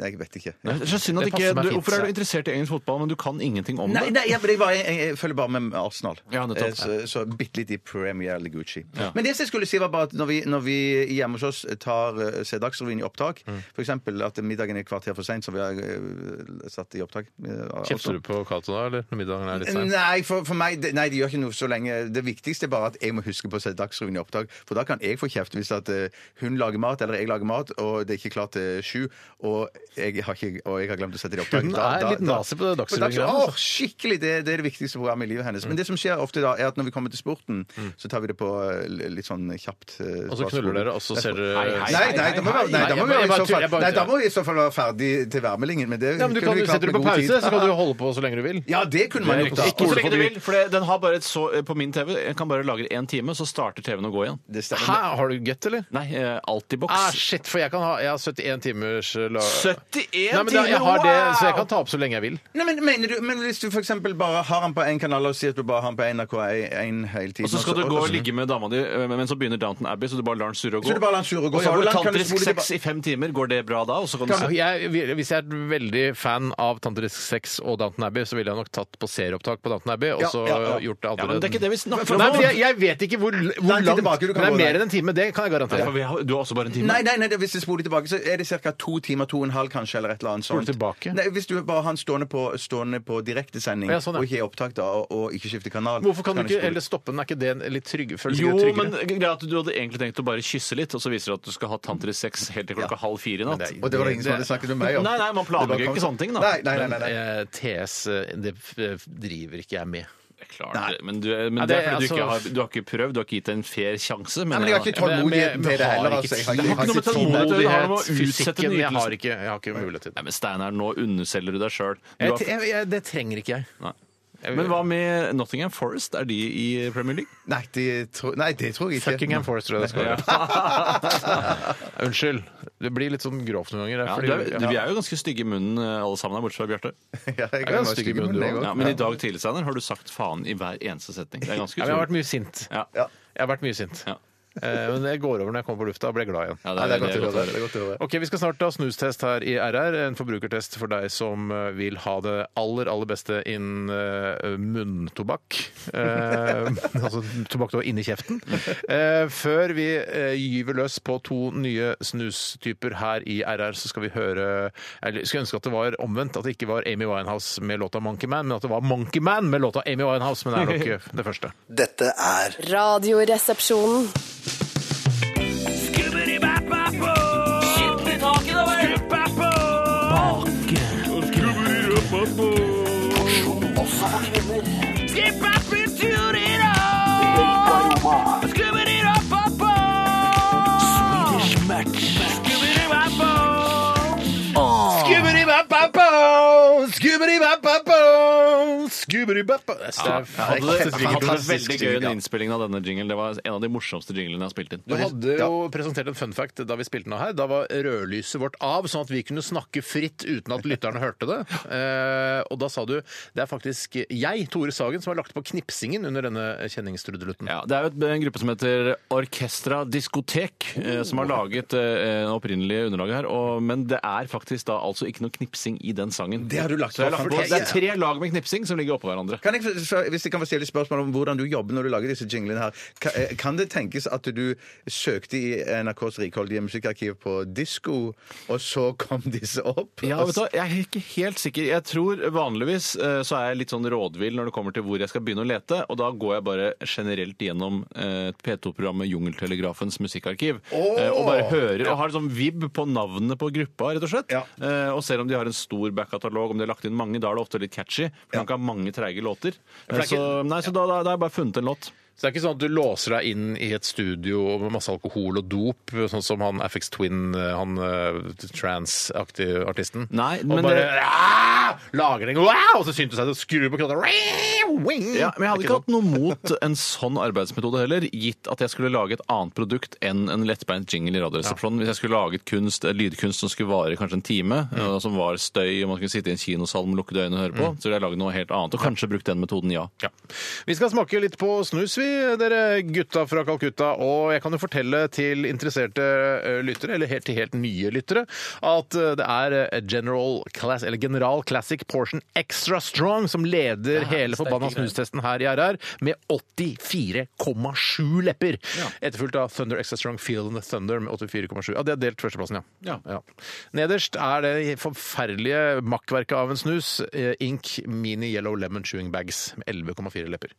Nei, jeg vet ikke. Det er så synd at Det ikke, passer meg du, fint, Hvorfor er ja. du interessert i engelsk fotball, men du kan ingenting om Nei, det? nei jeg, jeg, bare, jeg, jeg følger bare med Arsenal. Ja, nettopp. Eh, så, så bitte litt i Premier League Gucci. Ja. Men det som jeg skulle si var bare at når vi, når vi hjemme hos oss tar, eh, ser Dagsrevyen i opptak, Mm. for eksempel at middagen er et kvarter for sent, som vi har eh, satt i opptak eh, altså. Kjefter du på Cato da, eller når middagen er litt sein? Nei, for, for meg, det- nei, det gjør ikke noe så lenge. Det viktigste er bare at jeg må huske på å se Dagsrevyen i opptak. For da kan jeg få kjeft hvis at eh, hun lager mat, eller jeg lager mat, og det er ikke klart til sju, og jeg har, ikke, og jeg har glemt å sette det i opptak. Hun Da- er da- litt da- nazi på det På Dagsrevyen, Dagsrevyen. altså. Mm. Åh, skikkelig! Det, det er det viktigste programmet i livet hennes. Men det som skjer ofte da, er at når vi kommer til sporten, så tar vi det på eh, litt sånn kjapt. eh, Og så knuller dere, og så ser dere Hei, Nei, nei, da må vi- nei, da må Nei, jeg vi i bare så fall- tuller, jeg bare nei, da tuller. må vi i så fall være ferdig til værmeldingen. Men det Ja, men du kunne kan vi jo klart sette det med på god pause, tid. så kan du jo holde på så lenge du vil. Ja, det kunne man Det er gjort. riktig. da. Ikke så lenge du vil, for det- den har bare et så, eh, på min TV jeg kan bare lagre én time, så starter TV-en å gå igjen. Det stemmer. Hæ, har du gutt, eller? Nei, eh, Altibox. Ah, shit, for jeg kan ha Jeg har 71 timers eh, la... 71 Nei, men da, jeg timer, har det, Så jeg wow! kan ta opp så lenge jeg vil. Nei, men, mener du, men hvis du for eksempel bare har han på én kanal og sier at du bare har han på NRK1 hele tiden Og så skal du og- gå og- og ligge med dama di, eh, men så begynner Downton Abbey, så du bare lar den surre og gå. Så du bare lar den surre og gå, Og så ja. har Hvor du langt kan du tantrisk spole sex tilba- i fem timer. Går det bra da? Og så kan Så du Jeg, hvis jeg er veldig fan av Tantrisk sex og Downton Abbey, så ville jeg nok tatt på serieopptak på Downton Abbey og Ja, så ja, ja. gjort det Ja, andre. men det er ikke det vi snakker om. Nei, men nå. jeg, jeg vet ikke hvor, hvor Nei, litt langt tilbake, du kan Men det gå er der. mer enn en time, det kan jeg Nei, for garantere. vi har, du har også bare en time. Nei, nei, nei, det- hvis jeg spoler tilbake, så er det ca. to timer, to og en halv kanskje, eller et eller annet sånt. tilbake? Nei, hvis du bare har han stående på, stående på direktesending Ja, sånn, ja. og ikke i opptak, da, og, og ikke skifter kanal Hvorfor kan du ikke spole- heller stoppe den? Er ikke det en litt trygg, føles Jo, litt tryggere? men greia er at du hadde egentlig tenkt å bare kysse litt, og så viser det at du skal ha tantrisk sex helt til klokka halv fire i natt. Men det er- Og det var det ingen som hadde snakket med meg om. Nei, nei, eh, man Det planlegger bare kom- ikke sånne ting, da. Nei, nei, nei, nei, nei. Eh, TS eh, det f- eh, driver ikke jeg med. Klart Nei. det. Men, du, men Ja, det, det er er fordi du, altså- ikke har, du har ikke prøvd, du har ikke gitt det en fair sjanse. Nei, mener men jeg har da. ikke tålmodigheten til det heller. Altså. Jeg har Det eh, har jeg ikke noe med har ikke tålmodighet. tid. det har noe med å utsette fysikken. Jeg nytelsen. har ikke, jeg har ikke mulighet til det. Nei, men Steinar, nå underselger du deg sjøl. Jeg, jeg, jeg, det trenger ikke jeg. Men hva med Nottingham Forest? Er de i Premier League? Nei, det tror, nei, det tror jeg ikke. Fuckingham Forest, tror jeg det skal være. Unnskyld. Det blir litt sånn grovt noen ganger. Ja, fordi- du er, du, vi Ja. er jo ganske stygge i munnen eh, alle sammen, her, bortsett fra Bjarte. [laughs] Ja, jeg ganske kan være stygg i stygg i munnen, munnen, jeg du også. Ja, òg. men i dag tidlig, Steinar, har du sagt faen i hver eneste setning. Det er ganske Ja, men jeg har vært utrolig. mye sint. Ja. Ja. Jeg har vært mye sint. Ja. Eh, Men det går over når jeg kommer på lufta og blir glad igjen. Ja, Nei, det er det er godt å høre. godt å Det er godt å høre. Ok, Vi skal snart ta snustest her i RR. En forbrukertest for deg som eh, vil ha det aller aller beste innen eh, munntobakk. Eh, [laughs] altså tobakk du har inni kjeften. Eh, før vi eh, gyver løs på to nye snustyper her i RR, så skal vi høre Eller skulle ønske at det var omvendt. At det ikke var Amy Winehouse med låta 'Monkey Man', men at det var 'Monkey Man' med låta Amy Winehouse. Men det er nok det første. Dette er Radioresepsjonen. Ja, Jeg hadde det, jeg hadde det Fantastisk veldig gøy jingle, ja. under innspillingen av denne jinglen. Det var en av de morsomste jinglene jeg har spilt inn. Du hadde jo presentert en fun fact da vi spilte den av her. Da var rødlyset vårt av, sånn at vi kunne snakke fritt uten at lytterne hørte [laughs] det. Eh, og da sa du det er faktisk jeg, Tore Sagen, som har lagt på knipsingen under denne kjenningstrudelutten. Ja, Det er jo et- en gruppe som heter Orkestra Diskotek, eh, som har laget eh, det opprinnelige underlaget her. Og, men det er faktisk da altså ikke noe knipsing i den sangen. Det har du lagt Så jeg på. har lagt på. Det er tre lag med knipsing som ligger oppå hverandre. Kan jeg, få- så- hvis jeg kan få stille et spørsmål om hvordan du jobber når du lager disse jinglene her. Ka- eh, Kan det tenkes at du søkte i NRKs rikholdige musikkarkiv på disko, og så kom disse opp? Ja, vet du, hva, jeg er ikke helt sikker. Jeg tror vanligvis eh, så er jeg litt sånn rådvill når det kommer til hvor jeg skal begynne å lete, og da går jeg bare generelt gjennom eh, P2-programmet Jungeltelegrafens musikkarkiv eh, og bare hører og har sånn vibb på navnene på gruppa, rett og slett. Ja. Eh, Og ser om de har en stor backkatalog, om de har lagt inn mange. Da er det ofte litt catchy, for man kan ha mange treige låter. det er Eh, Så, nei, så da, da, da har jeg bare funnet en låt. Så det er ikke sånn at du låser deg inn i et studio med masse alkohol og dop, sånn som han FX Twin, han eh, trans-aktige artisten. Nei, og men bare det- «Ah!» lager den, wow! og så syntes jeg det skrur på knottene. Ja, men jeg hadde ikke hatt noe mot en sånn arbeidsmetode heller, gitt at jeg skulle lage et annet produkt enn en lettbeint jingle i Radioresepsjonen. Hvis jeg skulle laget kunst, eh, lydkunst som skulle vare kanskje en time, eh, som var støy, og man skulle sitte i en kinosal med lukkede øyne og høre på, så ville jeg laget noe helt annet, og kanskje brukt den metoden, ja. Ja. Vi skal smake litt på snus, vi, dere gutta fra Calcutta. Og jeg kan jo fortelle til interesserte eh, lyttere, eller helt, til helt nye lyttere, at eh, det er eh, General, Class, eller General Classic Portion Extra Strong som leder hele forbanna snustesten her i RR, med 84,7 lepper. Etterfulgt av Thunder Extra Strong Feel and the Thunder med 84,7. Ja, det er delt førsteplassen, ja. ja. Nederst er det forferdelige makkverket av en snus, eh, Ink Mini Yellow Lemon Chewing Bags med 11,4 lepper.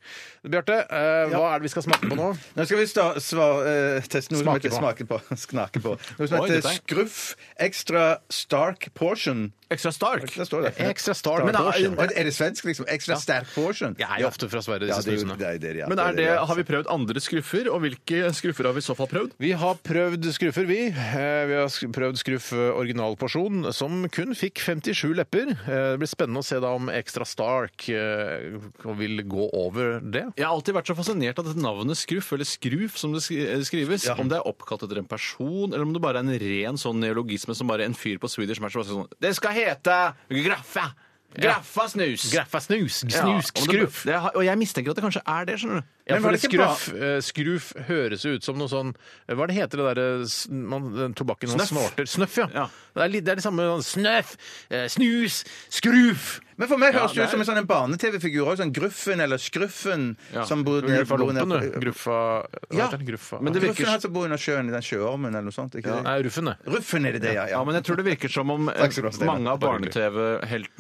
Bjarte, eh, hva er det vi skal smake på nå? Nå skal vi sta, svar, eh, teste noe Smake som heter smake på. [laughs] Snake på. Noe som Oi, heter dette er- Scruff Extra Stark Portion. Extra Stark. Der står det. Extra Stark Men, Portion. Er, er det svensk, liksom? Extra Stark Portion? Jeg er jo ofte fra Sverige, Ja, disse det er jo- snusene. det er det, ja. Men Det er det, ja. har vi prøvd andre skruffer, og hvilke skruffer har vi i så fall prøvd? Vi har prøvd skruffer, vi. Eh, Vi har sk- prøvd skruff eh, originalporsjon, som kun fikk 57 lepper. Eh, Det blir spennende å se da om Extra Stark eh, vil gå over det. Jeg har alltid vært så fascinert av dette navnet Skruff, eller Skruf som det skri- eh, skrives. Om det er oppkalt etter en person, eller om det bare er en ren sånn neologisme som bare en fyr på Swedish Match bare sier sånn Det skal hete Graffa! Graffa snus! Graffa snus, Ja, snus, om det- skruff. Det, har- og jeg mistenker at det kanskje er det, skjønner du. Ja, Men for var det det ikke skruff, eh, skruff høres jo ut som noe sånn Hva er det heter det derre s- man- den tobakken man Snøff. snorter? Snøff, ja. Ja. Det, er litt, det er det samme sånn snøff, eh, snus, skruff. Men for meg høres det det ut er- som en sånn en barne-TV-figur også, Sånn Gruffen eller Skruffen. Ja. Som bor nede- Gruffa bor nede på- rumpen, du. Gruffa Hva Ja, heter den? Gruffa men det virker- Gruffen er han som bor under sjøen i den sjøormen eller noe sånt? Ikke det? Nei, ruffen, det. Ruffen er det det, ja. ja. Ja, men jeg tror det virker som om eh, Takk skal du ha, Steinar. mange av Bare hyggelig.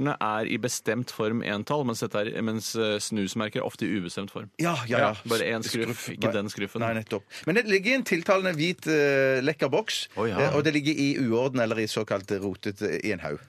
barne-TV-heltene er i bestemt form entall, mens, dette er- mens eh, snusmerker er ofte i ubestemt form. Ja, ja, ja. Bare én skruff, ikke Nei. den skruffen. Nei, nettopp. Men det ligger i en tiltalende hvit, eh, lekker boks. Å, ja. eh, Og det ligger i uorden eller i såkalt rotete i en eh, haug.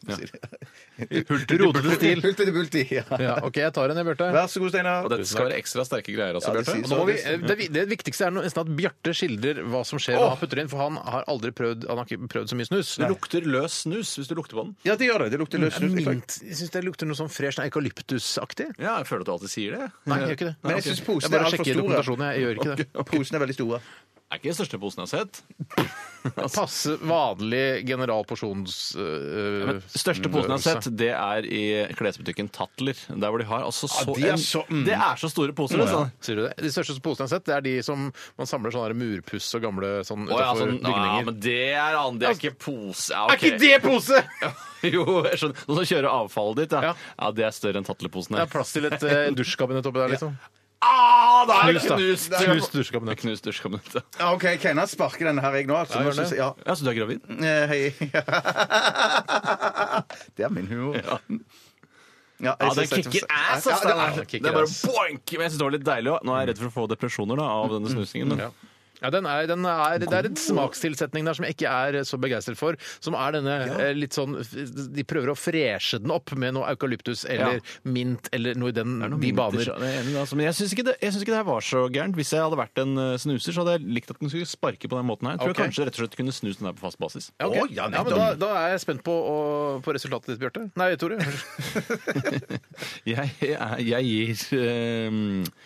Hulter Rodete stil. til. Hulti til bulti. Ja. Ja, OK, jeg tar en, jeg, Bjarte. Vær så god, Steinar. Og dette skal være ekstra sterke greier, altså, Ja, det Bjarte. sies. Nå må vi, det, det viktigste er nå nesten at Bjarte skildrer hva som skjer når han putter inn, for han har aldri prøvd, han har ikke prøvd så mye snus. Det lukter løs snus hvis du lukter på den. Ja, det gjør det. Det lukter løs snus. i fag- Mint. Jeg syns det lukter noe sånn fresh eukalyptusaktig. Ja, jeg føler at du alltid sier det. Nei, jeg gjør ikke det. Men jeg syns Jeg posene er bare altfor sjekker store. dokumentasjonen, jeg gjør ikke det. Posene er veldig store. Det er ikke den største posen jeg har sett. Passe vanlig generalporsjons... øh, Men største posen jeg har sett, det er i klesbutikken Tatler. Der hvor de har altså så de er så- mm. Det er så store poser, altså. Sier du det? De største posene jeg har sett, det er de som man samler sånne her murpuss og gamle sånn Å, ja, utenfor sånn, ja, bygninger. men det er annet. Det er ikke pose. Ja, ok. det pose?! [laughs] Jo, jeg skjønner. Noen som kjører avfallet ditt, ja. Ja. ja. det er større enn Tatler-posen Det her. er plass til et eh, dusjkabinett oppi der, liksom. Ah, det er Knust, da. knust! Knust dusjkabinett. Knust dusjkabinettet. Ja, OK, Kenneth sparker denne her, jeg nå. Altså, gjør Nå synes jeg- ja. Ja, så du er gravid? Eh, Hei. [laughs] Det er min humor. Ja, jeg Ja, synes den dette- kicker Ja, ass! ass, det er- da. det, kicker er bare ass. boink! Men jeg synes det var litt deilig også. Nå er jeg redd for å få depresjoner da, av denne snusingen. Men Ja. Ja, den er, den er, det er en smakstilsetning der som jeg ikke er så begeistret for. Som er denne eh, litt sånn De prøver å freshe den opp med noe eukalyptus eller Ja. mint eller noe i den, Det er noen de mynter, baner. så- jeg er enig, altså. Men jeg syns ikke, det- jeg synes ikke det her var så gærent. Hvis jeg hadde vært en eh, snuser, så hadde jeg likt at den skulle sparke på den måten her. Jeg tror Ok. jeg kanskje rett og slett kunne snust den her på fast basis. Ja, ok. Å, ja, ja, men da, da er jeg spent på, å- på resultatet ditt, Bjarte. Nei, Tore. [laughs] Jeg, jeg, jeg gir ehm, eh,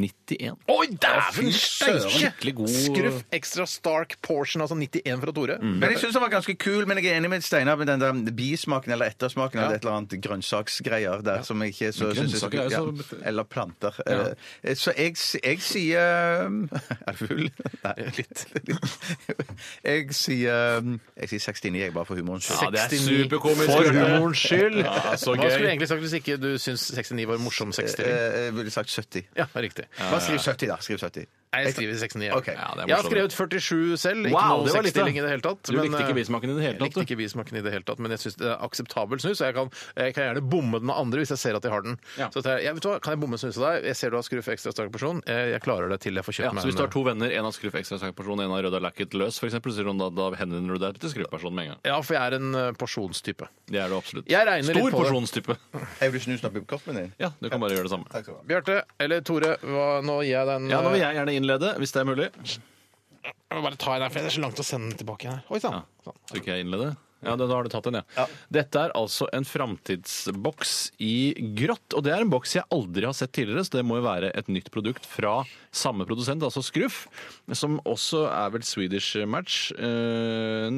91. Oi, dæven Skikkelig god- Skruff extra stark portion, altså 91 fra Tore. Mm. Men jeg syns den var ganske kul, men jeg er enig med Steinar med den der bismaken eller ettersmaken eller et eller annet grønnsaksgreier der som jeg ikke så synes grønnsaker er jo så- ja, Eller planter. Eh, Så jeg, s- jeg sier um, [laughs] Er du full? Nei, litt. [laughs] Jeg sier um, Jeg sier 69, jeg, bare for humorens skyld. Ja, det er 69. superkomisk. For Bjarte. humorens skyld. Ja, så Hva skulle du gøy. egentlig sagt hvis ikke du syns 69 var morsom Eh, 60? Jeg ville sagt 70. Ja, riktig. Bare skriv 70, da. Skriv 70. Nei, Jeg skriver 69. ja. Ok. Ja, det er jeg har morsommere. skrevet 47 selv. Ikke Wow, noe det var litt, da. sexstilling i det hele tatt. eh, Du likte ikke bismaken i det hele Jeg likte tatt, du. ikke bismaken i det hele tatt, men jeg syns det er akseptabel snus. Og jeg kan, jeg kan gjerne bomme den med andre hvis jeg ser at de har den. Ja. Så at jeg, jeg, vet du hva, kan jeg bomme snuset deg? Jeg ser du har skruff ekstra sterk person. Jeg, jeg klarer det til jeg får kjøpt Ja, meg så Hvis du en- har to venner, en av Skruff ekstra sterk person, en av Røda Lacket løs, for eksempel, så sier hun da, da henvender du deg til Skruff-personen med en gang. Ja, for jeg er en eh, porsjonstype. Det er du absolutt. Jeg regner litt Stor på det. porsjonstype. Jeg vil snu oppi koppen din. Ja, du kan bare gjøre det samme. Takk skal du ha. Bjarte, eller Tore, hva, nå gir jeg den Ja, Nå vil eh, jeg gjerne innlede, hvis det er mulig. jeg må Bare ta en her, for det er så langt å sende den tilbake igjen. her. Oi sann. Sånn. Så ikke jeg innleder. Ja, da, da har du tatt den, ja. Dette er altså en framtidsboks i grått. Og det er en boks jeg aldri har sett tidligere, så det må jo være et nytt produkt fra samme produsent, altså Skruff, som også er vel Swedish Match. Eh,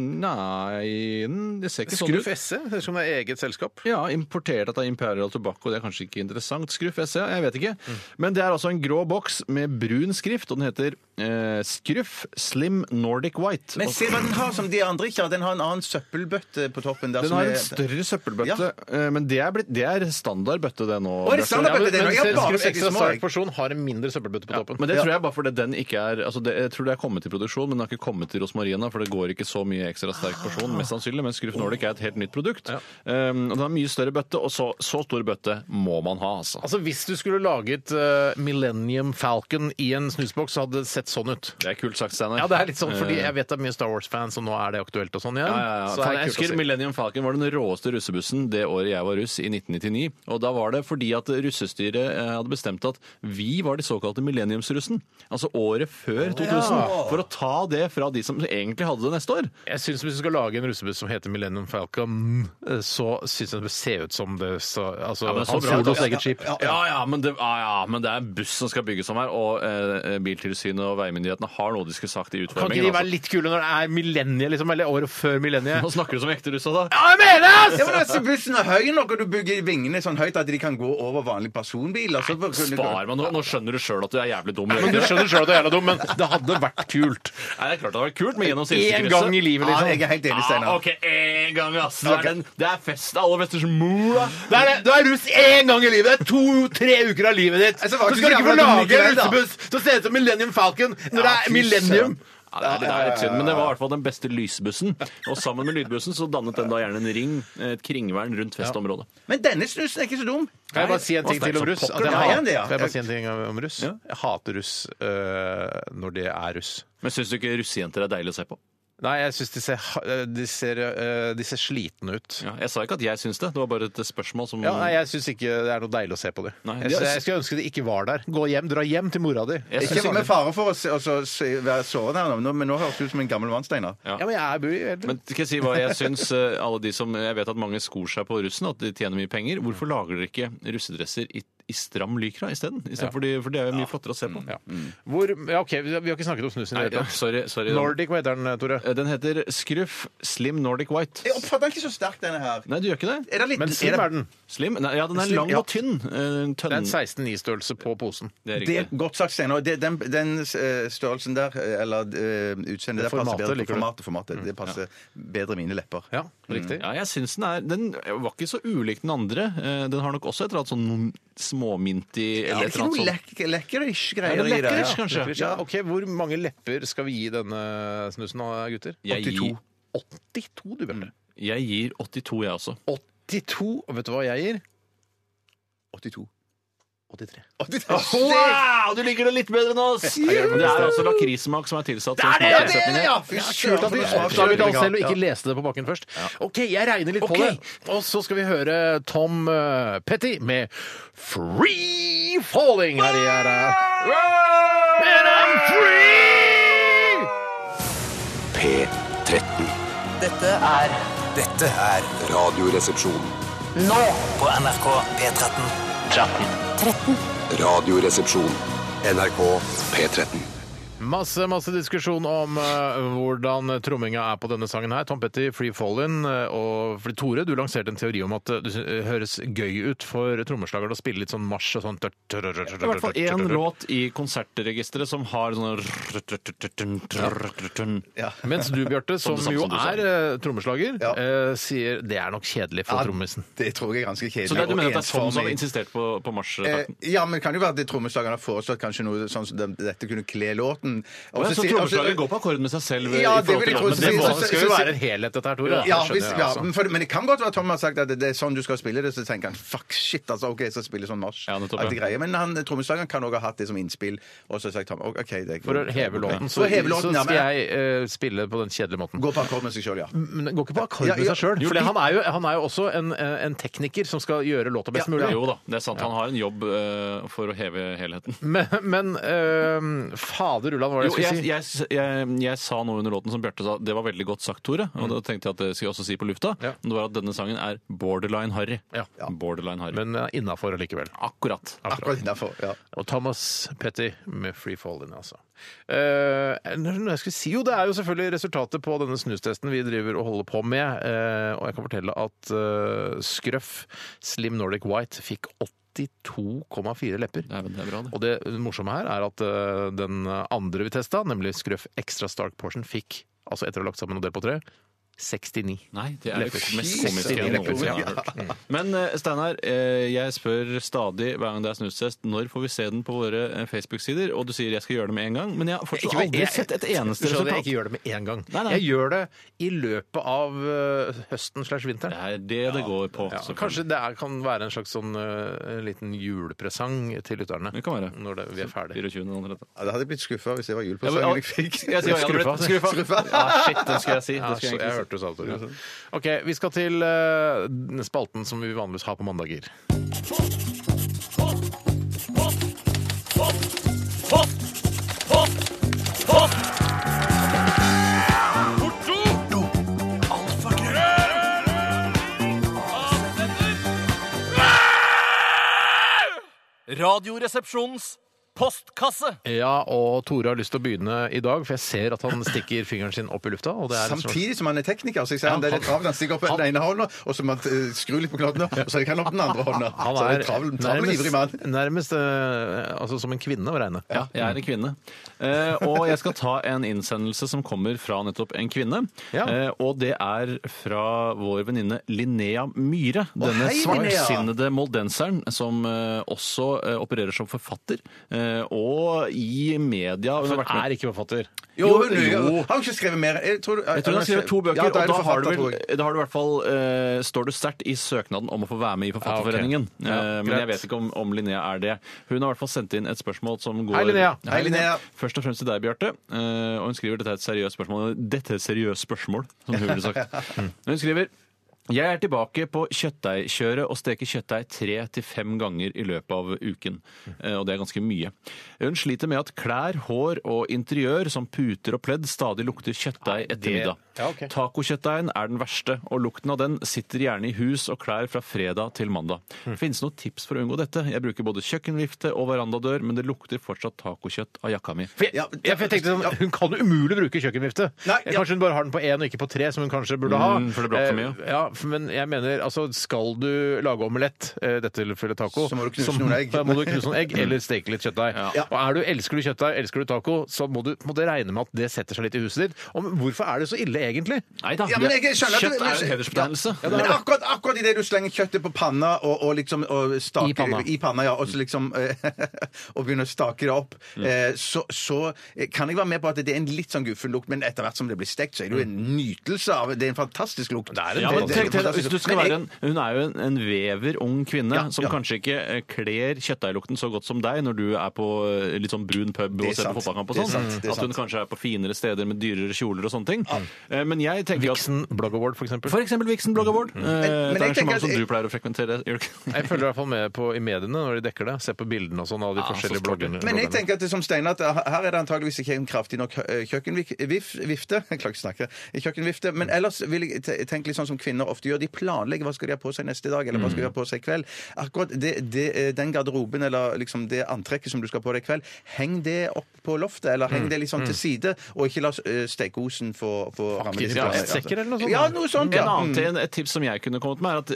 nei Det ser ikke sånn ut. Skruff SE, det ser ut som det er eget selskap. Ja, importert av Imperial Tobacco. Det er kanskje ikke interessant. Skruff SE, jeg vet ikke. Men det er altså en grå boks med brun skrift, og den heter eh, Skruff Slim Nordic White. Men Og se hva den har som de andre ikke har. Den har en annen søppelbøtte på toppen. Der, den som har en er- større søppelbøtte, eh, men det er, blitt, det er standard bøtte, det nå. Å, er det Bjarte. standard Ja, men, bøtte? Det er men jo- jeg har bare skruff sett de ekstra små, jeg. sterk person har en mindre søppelbøtte på toppen. Men det tror jeg bare fordi den ikke er altså det, Jeg tror det er kommet til produksjon, men den har ikke kommet til rosmarina, for det går ikke så mye ekstra sterk porsjon, mest sannsynlig. Men Skruff Nordic er et helt nytt produkt. Um, og det har mye større bøtte, og så, så stor bøtte må man ha, altså. Altså, Hvis du skulle laget eh, Millennium Falcon i en snusboks, så hadde det sett sånn ut. Det er kult sagt, Steinar. Ja, det er litt sånn, fordi Jeg vet det er mye Star Wars-fans, og nå er det aktuelt og sånn igjen. Ja, ja, ja. Så Faen, er det jeg kult husker å si. Millennium Falcon var den råeste russebussen det året jeg var russ, i 1999. Og da var det fordi at russestyret eh, hadde bestemt at vi var de såkalte millenniumsrussen. Altså året før 2000. For å ta det fra de som egentlig hadde det neste år. Jeg synes Hvis du skal lage en russebuss som heter Millennium Falcon, eh, så syns jeg det bør se ut som det så, altså, men så Han bra. Solos eget skip. Ja, ja, men det, ja, ja, men det er en buss som skal bygges om her, og eh, Biltilsynet og veimyndighetene har noe de skulle sagt i Kan ikke utformingen. de være altså. litt kule når det er millenniet, liksom, eller året før millenniet? Nå snakker du som ekte russa, da. Ja, jeg mener det, ass! Ja, men altså, Bussen er høy nok, og du bygger vingene sånn høyt at de kan gå over vanlige personbiler. Så Spar meg, nå, nå skjønner du sjøl at du er jævlig dum. Men Du Jørgen. skjønner sjøl at det er jævla dum, men det hadde vært kult. Nei, det er klart det hadde vært kult, men gjennom En sinnssykekrysset- gang i livet, Ja, liksom. jeg er helt enig, Ah, Steinar. ok, en gang, ass. Da er den, det er fest. Det er aller vesters mor, da. Det er, du er russ én gang i livet! Det er to-tre uker av livet ditt! Altså, Så det var skal ikke du så ikke få jævla dumt lage en likevel, da. russebuss som ser ut som Millennium Falcon når det er millennium! Ja, det, er, det er litt synd, men det var i hvert fall den beste lysbussen. Og sammen med lydbussen så dannet den da gjerne en ring, et kringvern rundt festområdet. Men denne snusen er ikke så dum. Kan jeg bare si en ting Nei, til om det er russ? så At pokker. jeg Ja, hater, igjen det, ja. kan jeg bare si en ting om russ? Jeg hater russ øh, når det er russ. Men syns du ikke russejenter er deilig å se på? Nei, jeg syns de ser, ha- de, ser, eh, de ser slitne ut. Ja, jeg sa ikke at jeg syns det, det var bare et spørsmål som Ja, nei, Jeg syns ikke det er noe deilig å se på dem. Nei, Jeg, de er- synes- jeg skulle ønske de ikke var der. Gå hjem, dra hjem til mora di. Jeg synes- Ikke med fare for å se- altså, se- være sårende, her nå, men nå- men nå høres du ut som en gammel mann, Steinar. Ja. Ja, men jeg er bu Men skal jeg si hva jeg syns eh, alle de som Jeg vet at mange skor seg på russen, at de tjener mye penger. Hvorfor lager dere ikke russedresser i, i stram lykra isteden? I stedet for, de, for det er jo mye flottere å se på. ja. Hvor, ja, OK, vi vi har ikke snakket om snusen Mm. i Nei, det hele tatt. sorry, sorry. Nordic, hva heter den, Tore? Eh, Den heter Scruff Slim Nordic White. Jeg oppfatter den ikke så sterkt, denne her. Nei, du gjør ikke det? Mm. Er det litt, Men Slim er den. Slim? Nei, ja, den er Slim, lang ja. og tynn. Eh, en Det er Tønn. en 16-9-størrelse på posen. Det er Det er riktig. godt sagt, Steinar. Det- Den, den eh, størrelsen der, eh, eller eh, utseendet, der passer Formatet bedre på liker du. formatet. formatet. Det passer bedre mine lepper. Ja, riktig. Mm, Ja, jeg synes Den er Den var ikke så ulik den andre. Eh, Den har nok også et eller annet sånn småminty Er det eller et ikke eller annet noe sånt. lek lekkerish Er greier det i det? lekkerish, ja. kanskje? Ja, ok, Hvor mange lepper skal vi gi denne snusen, da, gutter? Jeg gir, 82, du, Bjarte. jeg gir 82, jeg også. Mm. 82. Og vet du hva jeg gir? 82. 83. Wow, du liker det litt bedre enn oss! Det er altså lakrissmak som er tilsatt. som smak i setningen. ja! Fy søren, at vi oppdaget det selv og ikke leste det på bakken først. OK, jeg regner litt Ok. på det. Og så skal vi høre Tom eh, Petty med 'Free Falling' her i gjerdet. Men I'm free! P13. Dette er Dette er Radioresepsjon. nå på NRK P13. Radioresepsjon. NRK P13. Masse masse diskusjon om eh, hvordan tromminga er på denne sangen her. Tom Petty, 'Free Fallin'. eh, og fordi Tore, du lanserte en teori om at eh, det høres gøy ut for trommeslagere å spille litt sånn marsj og sånn Det er i hvert fall én låt i konsertregisteret som har sånn Mens du, Bjarte, som Som det samme jo som du sa. er eh, trommeslager, eh, sier det er nok kjedelig for trommisen. Det tror jeg er ganske kjedelig. Så det, og du mener at det er Tom som ensformig. har insistert på, på Eh, marsjtakten? ja, men det kan jo være at de trommeslagerne har foreslått kanskje noe sånn som de- dette kunne kle låten. Og Så sier- trommeslager altså- går på akkord med seg selv? Ja, i forhold det vil jeg Altså, til- tro. men Så- det må- så- det skal jo være en helhet, dette her, Tore. Ja, Det skjønner hvis, jeg, ja altså. men, for, men det kan godt være at Tom har sagt at det, det er sånn du skal spille det, så tenker han fuck shit, altså, ok, så spiller sånn marsj. Ja, nettopp, At det ja. greier. Men han, trommeslageren kan også ha hatt det som innspill, og så har sagt Tom ok, det er For å heve låten, så, For å heve så låten, ja, skal men- jeg eh, spille på den kjedelige måten. Gå på akkord med seg sjøl, ja. Men det går ikke på akkord Ja, med ja. seg sjøl. Jo, For fordi- han, er jo- han er jo også en, eh, en tekniker som skal gjøre låta best mulig. Jo da, det er sant. Han har en jobb eh, for å heve helheten. Men, men øhm, fader ulland, hva var det Jo, jeg jeg, skulle si? jeg, jeg, jeg sa noe under låten som Bjarte sa, det var veldig godt sagt, Tore. Og da tenkte jeg at det skulle jeg også si på lufta. Ja. Men Det var at denne sangen er borderline harry. Ja. Borderline harry. Men uh, innafor allikevel. Akkurat. Akkurat innafor. Ja. Og Thomas Petty med Free Fall In, altså. Eh, når- når jeg skulle si, jo, det er jo selvfølgelig resultatet på denne snustesten vi driver og holder på med. eh, og jeg kan fortelle at eh, Scruff Slim Nordic White fikk 82,4 lepper. Det er, det er bra, det. Og det morsomme her er at eh, den andre vi testa, nemlig Scruff Extra Stark Portion, fikk, altså etter å ha lagt sammen og delt på tre, 69. Nei, det er det Lepper. mest Fy komiske jeg søren, noensinne har hørt. Men eh, Steinar, eh, jeg spør stadig hver gang det er snustest, når får vi se den på våre eh, Facebook-sider? Og du sier jeg skal gjøre det med en gang, men jeg har fortsatt aldri sett et eneste Skjønner jeg resultat. ikke gjør det med en gang. Nei, nei. Jeg gjør det i løpet av eh, høsten slash Det vinteren. er det det går på. Ja, selvfølgelig. kanskje det er, kan være en slags sånn eh, en liten julepresang til lytterne Det kan være. når det, vi er ferdig. 24. eller noe sånt. ja, det hadde jeg blitt skuffa hvis det var jul på Ja, men, sangen jeg jeg fikk. sier jeg allerede. Skuffa. Skuffa. Ja, shit, den skulle jeg si. Det skulle Ja, så jeg jeg egentlig si. hørte du sa det, Tore. OK, vi skal til eh, spalten som vi vanligvis har på mandager. Radioresepsjonens postkasse. Ja, og Tore har lyst til å begynne i dag, for jeg ser at han stikker fingeren sin opp i lufta. Og det er en slags- Samtidig som han er tekniker. Så jeg ser han, det er litt travelt. Han stikker opp den ene hånda, og så må han eh, skru litt på knottene, og så gikk han opp den [laughs] andre hånda. Han så det er er travel, travel ivrig mann. nærmest, nærmest eh, altså som en kvinne å regne. Ja, jeg er en kvinne. Eh, og jeg skal ta en innsendelse som kommer fra nettopp en kvinne. Ja. Eh, og det er fra vår venninne Linnea Myhre. Denne hei, Linnea! svartsinnede moldenseren som eh, også eh, opererer som forfatter. Eh, eh, og i media. Hun er ikke forfatter. Jo, jo. Har hun ikke skrevet mer? Jeg tror, Jeg tror hun har skrevet to bøker, Ja, og da er da det har du forfatter, vel, tror jeg. da har du i hvert fall, eh, står du sterkt i søknaden om å få være med i Forfatterforeningen. Ja, Ah, ok. Ja, Eh, men jeg greit. vet ikke om, om Linnea er det. Hun har i hvert fall sendt inn et spørsmål som går Hei, Linnea. Hei, Linnea. Først og fremst til deg, Bjarte. Eh, og hun skriver dette er et seriøst spørsmål. Dette er et seriøst spørsmål, som hun ville [laughs] sagt. Mm. Hun skriver jeg er tilbake på kjøttdeigkjøret og steker kjøttdeig tre til fem ganger i løpet av uken. Eh, Og det er ganske mye. Hun sliter med at klær, hår og interiør, som puter og pledd, stadig lukter kjøttdeig etter middag. ja, ok. Tacokjøttdeigen er den verste, og lukten av den sitter gjerne i hus og klær fra fredag til mandag. Finnes det noen tips for å unngå dette? Jeg bruker både kjøkkenvifte og verandadør, men det lukter fortsatt tacokjøtt av jakka mi. For jeg, Ja, jeg, for jeg tenkte sånn, Hun kan jo umulig bruke kjøkkenvifte. Nei, ja. Kanskje hun bare har den på én og ikke på tre, som hun kanskje burde ha. Mm, for det bråker Eh, mye. ja, f- men jeg mener, altså, skal du lage omelett, eh, dette tilfellet taco, Så må du knuse noen [laughs] egg. Mm. da må du knuse noen egg eller steke litt kjøttdeig. Ja. Og er du, elsker du kjøttdeig, elsker du taco, så må du må det regne med at det setter seg litt i huset ditt. Og men hvorfor er det så ille, egentlig? Nei da, Ja, men jeg skjønner at kjøtt det- er jo en hedersbetegnelse. Ja, men akkurat, akkurat idet du slenger kjøttet på panna og, og liksom og staker, I panna. ja, og, så liksom, eh, [laughs] og begynner å stake det opp, Mm. eh, så, så eh, kan jeg være med på at det er en litt sånn guffen lukt, men etter hvert som det blir stekt, så er det jo en nytelse av Det er en fantastisk lukt. er en Ja, men tenk, tenk, hvis du skal Men være jeg- en, Hun er jo en, en vever, ung kvinne Ja, som ja. kanskje ikke eh, kler kjøttdeiglukten så godt som deg når du er på eh, litt sånn brun pub er og ser sant. på fotballkamp og Det er sånn. sant, det er At hun sant. kanskje er på finere steder med dyrere kjoler og sånne ting. Eh, Men jeg tenker at Vixen Blog Award, for eksempel. for eksempel Vixen Blogg Award. eh, men Et jeg tenker arrangement at som jeg- du pleier å frekventere. Jørgen. Jeg følger i hvert fall med på, i mediene når de dekker det. Ser på bildene og sånn av de Ja, så forskjellige smart. bloggerne. Men jeg tenker at det, som Steinar, at her er det antageligvis ikke en kraftig nok eh, kjøkkenvifte. [laughs] Jeg klarer ikke å snakke. Kjøkkenvifte. Mm. Men ellers vil jeg te- tenke litt sånn som kvinner ofte gjør. De planlegger hva skal de ha på seg neste dag, eller hva skal de Mm. ha på seg i kveld. Akkurat det, det, eh, den garderoben eller liksom det antrekket som du skal ha på deg i kveld, heng det opp på loftet, eller Mm. heng det litt sånn til side, og ikke la eh, stekeosen få få ramme Faktisk, disse ja. plassene. Sekker eller noe sånt, Ja, da. noe sånt, [laughs] En ja. Mm. annen, ting- et tips som jeg kunne kommet med, er at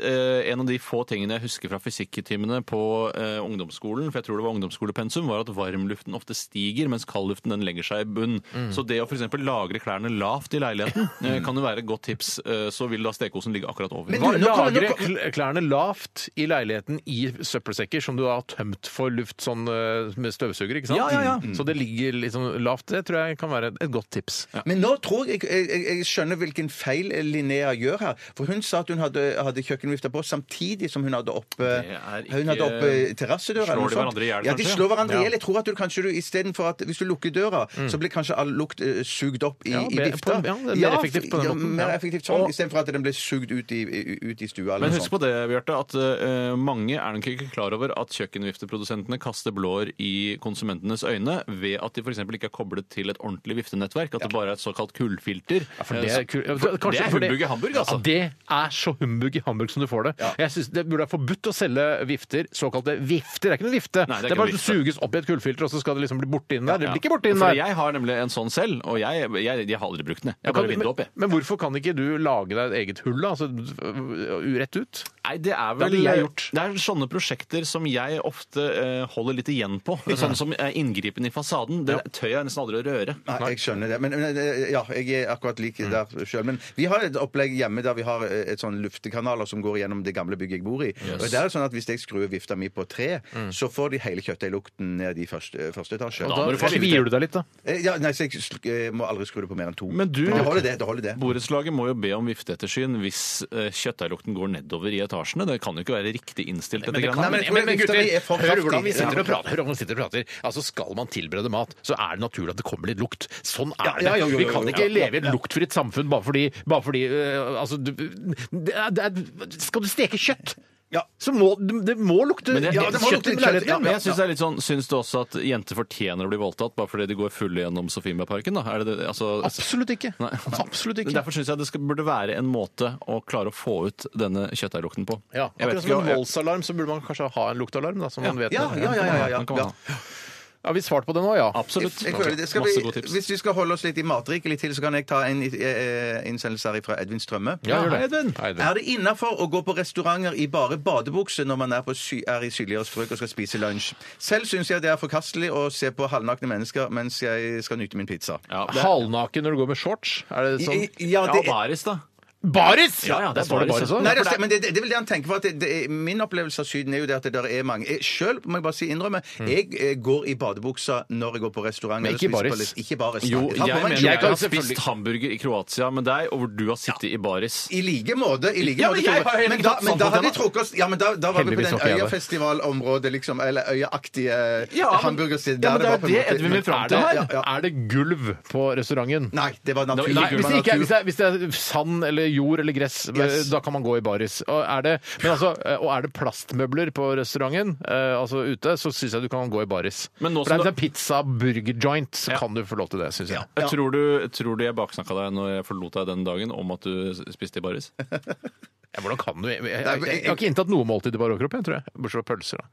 eh, en av de få tingene jeg husker fra fysikktimene på eh, ungdomsskolen, for jeg tror det var ungdomsskolepensum, var at varmluften ofte stiger, mens kaldluften den legger seg i bunn. Så det å f.eks. lagre klærne lavt i leiligheten eh, kan jo være et godt tips. eh, så vil da stekeosen ligge akkurat over. Men- Hva, Nå kommer- nå lagre kom- kl- klærne lavt i leiligheten i søppelsekker som du har tømt for luft sånn eh, med støvsuger, ikke sant? Ja, ja, ja. Mm. Så det ligger liksom lavt. Det tror jeg kan være et godt tips. Men nå tror jeg jeg, jeg jeg skjønner hvilken feil Linnea gjør her. For hun sa at hun hadde, hadde kjøkkenvifta på samtidig som hun hadde oppe, er ikke- hun hadde oppe terrassedøra. eller Slår noe de sånt. hverandre i hjel, Ja, de kanskje? slår hverandre i Ja. hjel. Jeg tror at du kanskje du istedenfor at hvis du lukker døra, så blir kanskje all lukt eh, sugd opp i, Mm. Ja, i be- vifta. på- ja, det er mer effektivt på den måten, mer ja. effektivt sånn, Og- Istedenfor at den blir sugd ut i, i- ut i stua. Eller Men noe husk sånt. på det, Bjarte, at eh, mange er nok ikke klar over at kjøkkenvifteprodusentene kaster blår i konsumentenes øyne ved at de f.eks. ikke er koblet til et ordentlig viftenettverk, at det bare er et såkalt kullfilter. For det Eh, er, så- kul- ja, for- kanskje det er for det- humbug i Hamburg, altså. Ja, det er så humbug i Hamburg som du får det. Jeg synes Det burde være forbudt å selge vifter, såkalte vifter. Det er ikke noen vifte. Nei, det, er ikke bare noen at det suges opp i et kullfilter, og så skal det liksom bli borte inn der. Det Ja. blir ikke borte inn For der. Jeg har nemlig en sånn selv, og jeg, jeg, jeg har aldri brukt den. jeg. Jeg Kan- bare vinner opp, jeg. men, men hvorfor kan ikke du lage deg et eget hull, da? Altså, øh, rett ut? Nei, det er Det vel hadde jeg gjort. Det er sånne prosjekter som jeg ofte eh, holder litt igjen på. Sånn som eh, inngripen i fasaden. Det tør jeg nesten aldri å røre. Nei, jeg skjønner det. Men, men eh, ja, jeg er akkurat lik der sjøl. Men vi har et opplegg hjemme der vi har eh, et sånn luftekanaler som går gjennom det gamle bygget jeg bor i. Og der er det sånn at Hvis jeg skrur vifta mi på tre, så får de hele kjøttdeiglukten ned i første, eh, første etasje. Da må du få Kvier du deg litt, da? Eh, Ja, nei, så jeg sl- eh, må aldri skru det på mer enn to. Men du- det holder det. det, holder det. Borettslaget må jo be om vifteettersyn hvis eh, kjøttdeiglukten går nedover i etasjene. Det kan jo ikke være riktig innstilt. dette kan- greiene. Nei, men- vifta mi er for hør kraftig. hvordan vi sitter Ja. og prater. Hør hvordan vi sitter og prater. Altså, Skal man tilberede mat, så er det naturlig at det kommer litt lukt. Sånn er det. ja, jo, jo, vi jo, kan jo, ikke ja, leve i et luktfritt samfunn bare fordi, bare fordi øh, Altså, du, det er, det er, skal du steke kjøtt, Ja. så må det, det må lukte Men jeg- ja, jeg- det må kjøtt lukte i kjøtt i leiligheten, Ja, leiligheten. men jeg synes, det er litt sånn, synes du også at jenter fortjener å bli voldtatt bare fordi de går fulle gjennom Sofiemarken? da? Er det det, altså, Absolutt ikke. Nei. Absolutt ikke. Derfor syns jeg det skal, burde være en måte å klare å få ut denne kjøttdeiglukten på. Ja, jeg akkurat som en voldsalarm, så burde man kanskje ha en luktalarm, da, så man vet Ja, det. ja, ja, ja, ja, Den kan man ja. ha. Ja, vi svarte på det nå, ja. Absolutt. Jeg føler det skal Masse vi, gode tips. hvis vi skal holde oss litt i matrikelig til, så kan jeg ta en eh, innsendelse her fra Edvin Strømme. Ja, gjør det. hei, Edvin. Hei, Edvin. Er det innafor å gå på restauranter i bare badebukse når man er, på sy er i sydligere strøk og skal spise lunsj? Selv syns jeg det er forkastelig å se på halvnakne mennesker mens jeg skal nyte min pizza. Ja, det er- Halvnaken når du går med shorts? Er det sånn? I- i- ja, ja, det, baris, da. Baris! Ja, ja, det er står det baris, baris ja. også. Nei, for det, det er- men det, det, det vil jeg tenke for at det, det, er- Min opplevelse av Syden er jo det at det der er mange jeg, Selv må jeg bare si innrømme Mm. Jeg eh, går i badebuksa når jeg går på restaurant Men eller ikke spiser på baris. litt- Ikke baris Jo, takk. Ta på meg jeg en mener kjole. jeg kan har spist selvfølgelig- hamburger i Kroatia med deg, og hvor du har sittet i baris. I like måte. I like Ja, men måte jeg Tore. har heller men ikke da, hatt men da samtale hadde de ennå. trukket oss Ja, men da, da var vi på Heldigvis den var ikke jeg det. øyafestivalområdet, liksom. Eller øyaaktige Ja, men- hamburgerstedet. ja, men det er på en det måte- Edvin vil fram Er til det, her. Ja, ja. er det gulv på restauranten? Nei, det var natur. Nei, Hvis det, ikke er, hvis, det er, hvis det er sand eller jord eller gress, eh, Yes. da kan man gå i baris. Og er det, men altså, og er det plastmøbler på restauranten, eh, altså ute, så syns jeg du kan gå i baris. Men nå For det som er en sånn pizza burger joint, så Ja. kan du få lov til det, syns jeg. Jeg tror, du, tror du jeg baksnakka deg når jeg forlot deg den dagen om at du s- spiste i baris? Ja, hvordan kan du? Jeg, Nei, jeg, jeg, men- jeg, har ikke inntatt noe måltid i bar overkropp, jeg, tror jeg. Bortsett fra [laughs] pølser, da.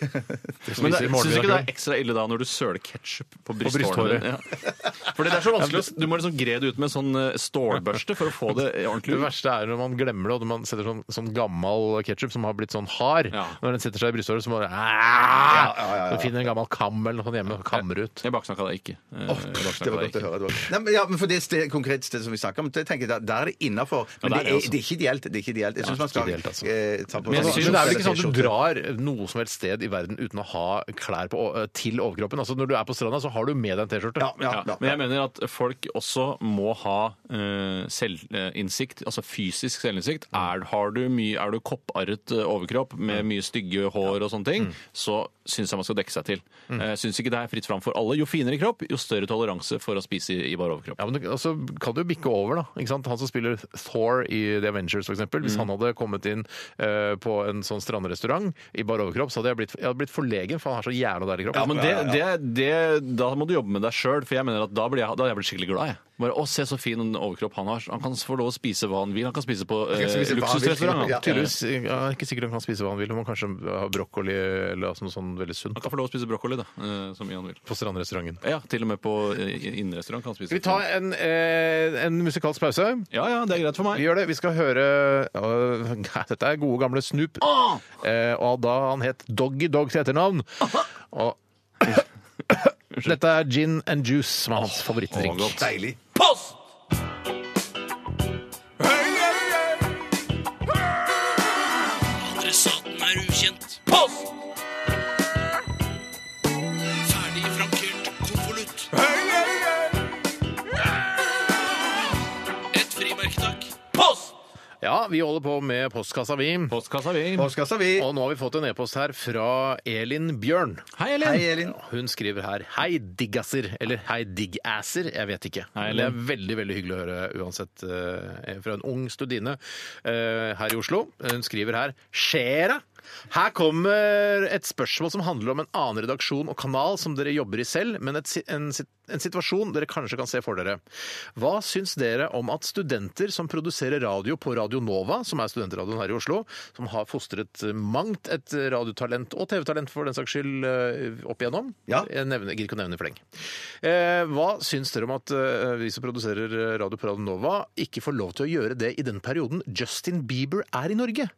Men spiser det- morgenmiddag Syns ikke det er ekstra ille da når du søler ketsjup på brysthåret. brysthåret? Ja. Fordi det er så vanskelig å Du må liksom gre det ut med en sånn eh, stålbørste for å få det ordentlig Det ut. verste er når man glemmer det, og når man setter sånn, sånn gammel ketsjup som har blitt sånn hard. Ja. Når den setter seg i brysthåret, så må du Du finner en gammel kam eller noe sånt hjemme og kammer ut. Jeg baksnakka deg ikke. Åh, Eh, jeg pff, baksnakket det var deg godt å ikke. høre. Det var. Nei, men, ja, men for det sted, konkret stedet som vi snakker om, det tenker jeg der, der er det innafor. Men Ja, der det, er det er, også. det er ikke ideelt. Det er ikke ideelt. Jeg syns Ja, man skal ikke ideelt, altså. eh, ta på Men jeg seg- synes- Men det er vel ikke sånn at du T-skjorte. drar noe som helst sted i verden uten å ha klær på, til overkroppen. Altså Når du er på stranda, så har du med deg en T-skjorte. ja, ja, Ja, ja. men jeg mener at folk også må ha eh, selvinnsikt, altså fysisk selvinnsikt. Er, har du mye, er du kopparret eh, overkropp Mm. med mye stygge hår og sånne ting, så syns jeg man skal dekke seg til. Mm. Jeg syns ikke det er fritt fram for alle. Jo finere kropp, jo større toleranse for å spise i, i bar overkropp. Ja, men du, altså, kan du bikke over, da. Ikke sant? Han som spiller Thor i The Avengers, for eksempel. Mm. Hvis han hadde kommet inn eh, på en sånn strandrestaurant i bar overkropp, så hadde jeg blitt, jeg hadde blitt forlegen, for han har så jævla deilig kropp. Ja, men det, Det, det, Da må du jobbe med deg sjøl, for jeg mener at da blir jeg, da hadde jeg blitt skikkelig glad. jeg. Bare, å, Se så fin overkropp han har. Han kan få lov å spise hva han vil. Han kan spise på eh, kan spise hva han vil. luksusrestaurant. Ja, han. Tydeligvis, jeg er ikke sikkert han kan spise hva han vil. Han må kanskje ha brokkoli eller altså noe sånn veldig sunt Han kan få lov å spise brokkoli da, eh, så mye han vil. på strandrestauranten. Ja, til og med på eh, innenrestaurant kan han spise. sånn. Skal vi ta en, eh, en musikalsk pause? Ja, ja, det er greit for Vi meg. gjør det. Vi skal høre øh, nei, [laughs] Dette er gode, gamle Snoop. Eh, og da han het Doggy Dog [laughs] til etternavn. Og [coughs] dette er gin and juice, som er hans favorittdrink. Deilig. Post! Adressaten er ukjent. Post! Ferdig frankert konvolutt. Et frimerke, takk. Post! Ja, vi holder på med postkassa, vi. Postkassa, vi. Oskar Savi. Og nå har vi fått en e-post her fra Elin Bjørn. Hei, Elin. Hei, Elin. Hun skriver her 'Hei, diggasser', eller 'Hei, diggasser', jeg vet ikke. Hei, Men Elin. det er veldig veldig hyggelig å høre uansett eh, fra en ung studine eh, her i Oslo. Hun skriver her 'Skjer'a'. Her kommer et spørsmål som handler om en annen redaksjon og kanal som dere jobber i selv, men et, si- en, sit- en situasjon dere kanskje kan se for dere. Hva syns dere om at studenter som produserer radio på Radio Nova, som er studentradioen her i Oslo, som har fostret mangt et radiotalent og TV-talent for den saks skyld eh, opp igjennom, Ja. jeg nevner, gidder ikke å nevne i fleng. Eh, hva syns dere om at eh, vi som produserer eh, Radio på Radio Nova, ikke får lov til å gjøre det i den perioden Justin Bieber er i Norge?